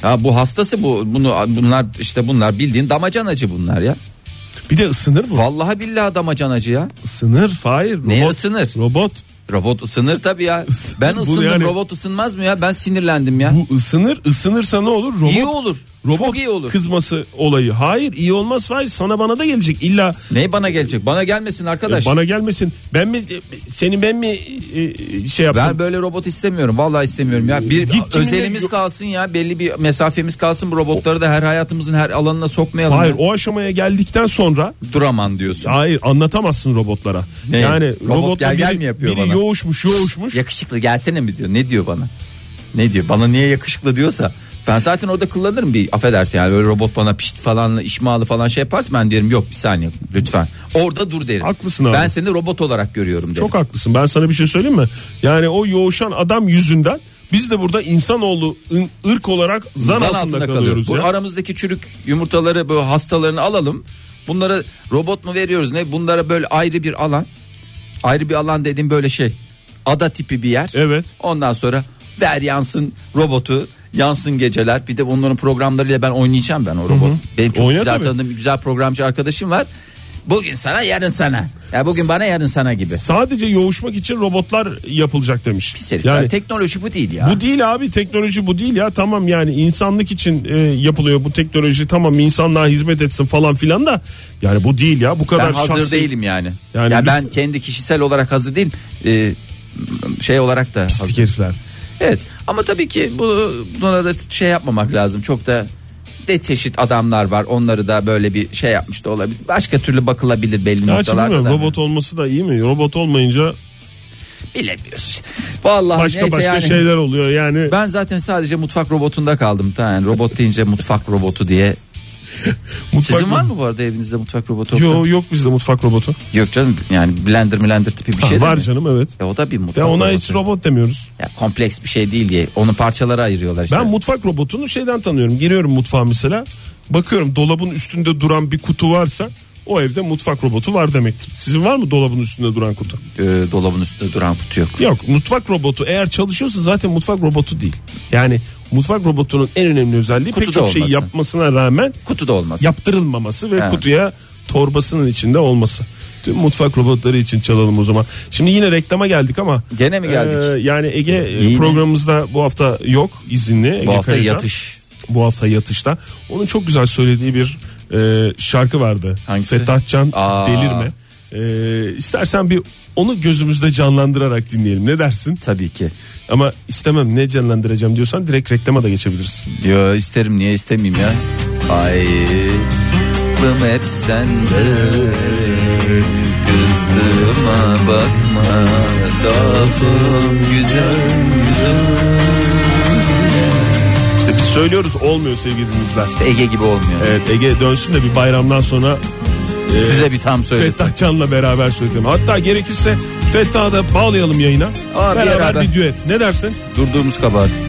[SPEAKER 2] Ha bu hastası bu bunu bunlar işte bunlar bildiğin damacanacı bunlar ya.
[SPEAKER 3] Bir de ısınır mı?
[SPEAKER 2] Vallahi billahi damacanacı ya.
[SPEAKER 3] Isınır Fahir.
[SPEAKER 2] Neye
[SPEAKER 3] Robot-
[SPEAKER 2] ısınır?
[SPEAKER 3] Robot.
[SPEAKER 2] Robot ısınır tabii ya. Ben
[SPEAKER 3] [laughs] Bu
[SPEAKER 2] ısındım
[SPEAKER 3] yani-
[SPEAKER 2] robot ısınmaz mı ya? Ben sinirlendim ya.
[SPEAKER 3] Bu ısınır. Isınırsa ne olur? Robot
[SPEAKER 2] iyi olur.
[SPEAKER 3] Robot
[SPEAKER 2] Çok iyi olur.
[SPEAKER 3] kızması olayı. Hayır iyi olmaz Fahir. Sana bana da gelecek. İlla
[SPEAKER 2] Ne bana gelecek? Bana gelmesin arkadaş.
[SPEAKER 3] E, Bana gelmesin. Ben mi seni ben mi e, şey yaptım?
[SPEAKER 2] Ben böyle robot istemiyorum. Vallahi istemiyorum ya. Bir
[SPEAKER 3] Git kimine-
[SPEAKER 2] özelimiz kalsın ya. Belli bir mesafemiz kalsın. Bu robotları da her hayatımızın her alanına sokmayalım.
[SPEAKER 3] Hayır
[SPEAKER 2] ya.
[SPEAKER 3] o aşamaya geldikten sonra
[SPEAKER 2] duraman diyorsun.
[SPEAKER 3] hayır anlatamazsın robotlara.
[SPEAKER 2] Ne?
[SPEAKER 3] Yani
[SPEAKER 2] Robot
[SPEAKER 3] robotla
[SPEAKER 2] gel gel
[SPEAKER 3] biri,
[SPEAKER 2] mi yapıyor
[SPEAKER 3] biri
[SPEAKER 2] bana?
[SPEAKER 3] yoğuşmuş yoğuşmuş.
[SPEAKER 2] Yakışıklı gelsene mi diyor? Ne diyor bana? Ne diyor? Bana niye yakışıklı diyorsa ben zaten orada kullanırım bir affedersin yani böyle robot bana pişt falan işmalı falan şey yaparsa ben derim yok bir saniye lütfen. Orada dur derim.
[SPEAKER 3] Haklısın abi.
[SPEAKER 2] Ben seni robot olarak görüyorum derim.
[SPEAKER 3] Çok haklısın. Ben sana bir şey söyleyeyim mi? Yani o yoğuşan adam yüzünden biz de burada insanoğlu ın- ırk olarak zan, altında, kalıyoruz.
[SPEAKER 2] Bu
[SPEAKER 3] ya.
[SPEAKER 2] aramızdaki çürük yumurtaları böyle hastalarını alalım. Bunlara robot mu veriyoruz ne? Bunlara böyle ayrı bir alan. Ayrı bir alan dediğim böyle şey. Ada tipi bir yer.
[SPEAKER 3] Evet.
[SPEAKER 2] Ondan sonra ver yansın robotu. Yansın geceler. Bir de onların programlarıyla ben oynayacağım ben o robot. Benim çok
[SPEAKER 3] Oyna
[SPEAKER 2] güzel
[SPEAKER 3] tabii.
[SPEAKER 2] tanıdığım bir güzel programcı arkadaşım var. Bugün sana yarın sana. Ya bugün bana yarın sana gibi.
[SPEAKER 3] Sadece yoğuşmak için robotlar yapılacak demiş.
[SPEAKER 2] Pis herifler. teknoloji bu değil ya.
[SPEAKER 3] Bu değil abi teknoloji bu değil ya tamam yani insanlık için e, yapılıyor bu teknoloji tamam insanlığa hizmet etsin falan filan da yani bu değil ya bu kadar
[SPEAKER 2] ben hazır
[SPEAKER 3] şahsi-
[SPEAKER 2] değilim yani.
[SPEAKER 3] Yani
[SPEAKER 2] ya ben
[SPEAKER 3] lütfen-
[SPEAKER 2] kendi kişisel olarak hazır değil. Ee, şey olarak da hazır.
[SPEAKER 3] Pislik herifler.
[SPEAKER 2] Evet. Ama tabii ki bu buna da şey yapmamak lazım. Çok da de çeşit adamlar var. Onları da böyle bir şey yapmış da olabilir. Başka türlü bakılabilir belli
[SPEAKER 3] Ya şimdi
[SPEAKER 2] noktalarda da.
[SPEAKER 3] robot olması da iyi mi? Robot olmayınca
[SPEAKER 2] Bilemiyoruz. işte. Vallahi
[SPEAKER 3] başka
[SPEAKER 2] neyse
[SPEAKER 3] başka
[SPEAKER 2] yani.
[SPEAKER 3] şeyler oluyor yani.
[SPEAKER 2] Ben zaten sadece mutfak robotunda kaldım. Yani robot deyince mutfak robotu diye.
[SPEAKER 3] Mutfak-
[SPEAKER 2] Sizin var mı bu arada evinizde mutfak robotu?
[SPEAKER 3] Yo, yok bizde mutfak robotu.
[SPEAKER 2] Yok canım yani blender blender tipi bir şey değil
[SPEAKER 3] var
[SPEAKER 2] mi?
[SPEAKER 3] canım evet.
[SPEAKER 2] E o da bir mutfak
[SPEAKER 3] Ya ona
[SPEAKER 2] robotu.
[SPEAKER 3] hiç robot demiyoruz.
[SPEAKER 2] Ya kompleks bir şey değil diye onu parçalara ayırıyorlar işte.
[SPEAKER 3] Ben mutfak robotunu şeyden tanıyorum. Giriyorum mutfağa mesela. Bakıyorum dolabın üstünde duran bir kutu varsa o evde mutfak robotu var demektir. Sizin var mı dolabın üstünde duran kutu?
[SPEAKER 2] Ee, dolabın üstünde duran kutu yok.
[SPEAKER 3] Yok mutfak robotu eğer çalışıyorsa zaten mutfak robotu değil. Yani mutfak robotunun en önemli özelliği
[SPEAKER 2] Kutuda
[SPEAKER 3] pek çok şeyi
[SPEAKER 2] olması.
[SPEAKER 3] yapmasına rağmen
[SPEAKER 2] Kutu da olmaz.
[SPEAKER 3] yaptırılmaması ve
[SPEAKER 2] Evet.
[SPEAKER 3] kutuya torbasının içinde olması. Tüm mutfak robotları için çalalım o zaman. Şimdi yine reklama geldik ama.
[SPEAKER 2] Gene mi geldik?
[SPEAKER 3] Ee, yani Ege e,
[SPEAKER 2] Yine.
[SPEAKER 3] programımızda bu hafta yok izinli. Ege
[SPEAKER 2] Bu hafta
[SPEAKER 3] Kayacan.
[SPEAKER 2] yatış.
[SPEAKER 3] Bu hafta yatışta. Onun çok güzel söylediği bir e, şarkı vardı.
[SPEAKER 2] Hangisi?
[SPEAKER 3] Fettah Can
[SPEAKER 2] Aa.
[SPEAKER 3] Delirme. E, istersen bir onu gözümüzde canlandırarak dinleyelim. Ne dersin?
[SPEAKER 2] Tabii ki.
[SPEAKER 3] Ama istemem ne canlandıracağım diyorsan direkt reklama da geçebiliriz.
[SPEAKER 2] Yo isterim niye istemeyeyim ya. Ay aklım hep sende. Kızdığıma bakma. Zaafım güzel güzel.
[SPEAKER 3] İşte biz söylüyoruz olmuyor sevgili dinleyiciler.
[SPEAKER 2] İşte Ege gibi olmuyor.
[SPEAKER 3] Evet Ege dönsün de bir bayramdan sonra
[SPEAKER 2] Size bir tam söylesin.
[SPEAKER 3] Fettah Can'la beraber söyleyelim. Hatta gerekirse Fettah'ı da bağlayalım yayına.
[SPEAKER 2] Aa, bir
[SPEAKER 3] beraber
[SPEAKER 2] arada.
[SPEAKER 3] bir düet. Ne dersin?
[SPEAKER 2] Durduğumuz kabahat.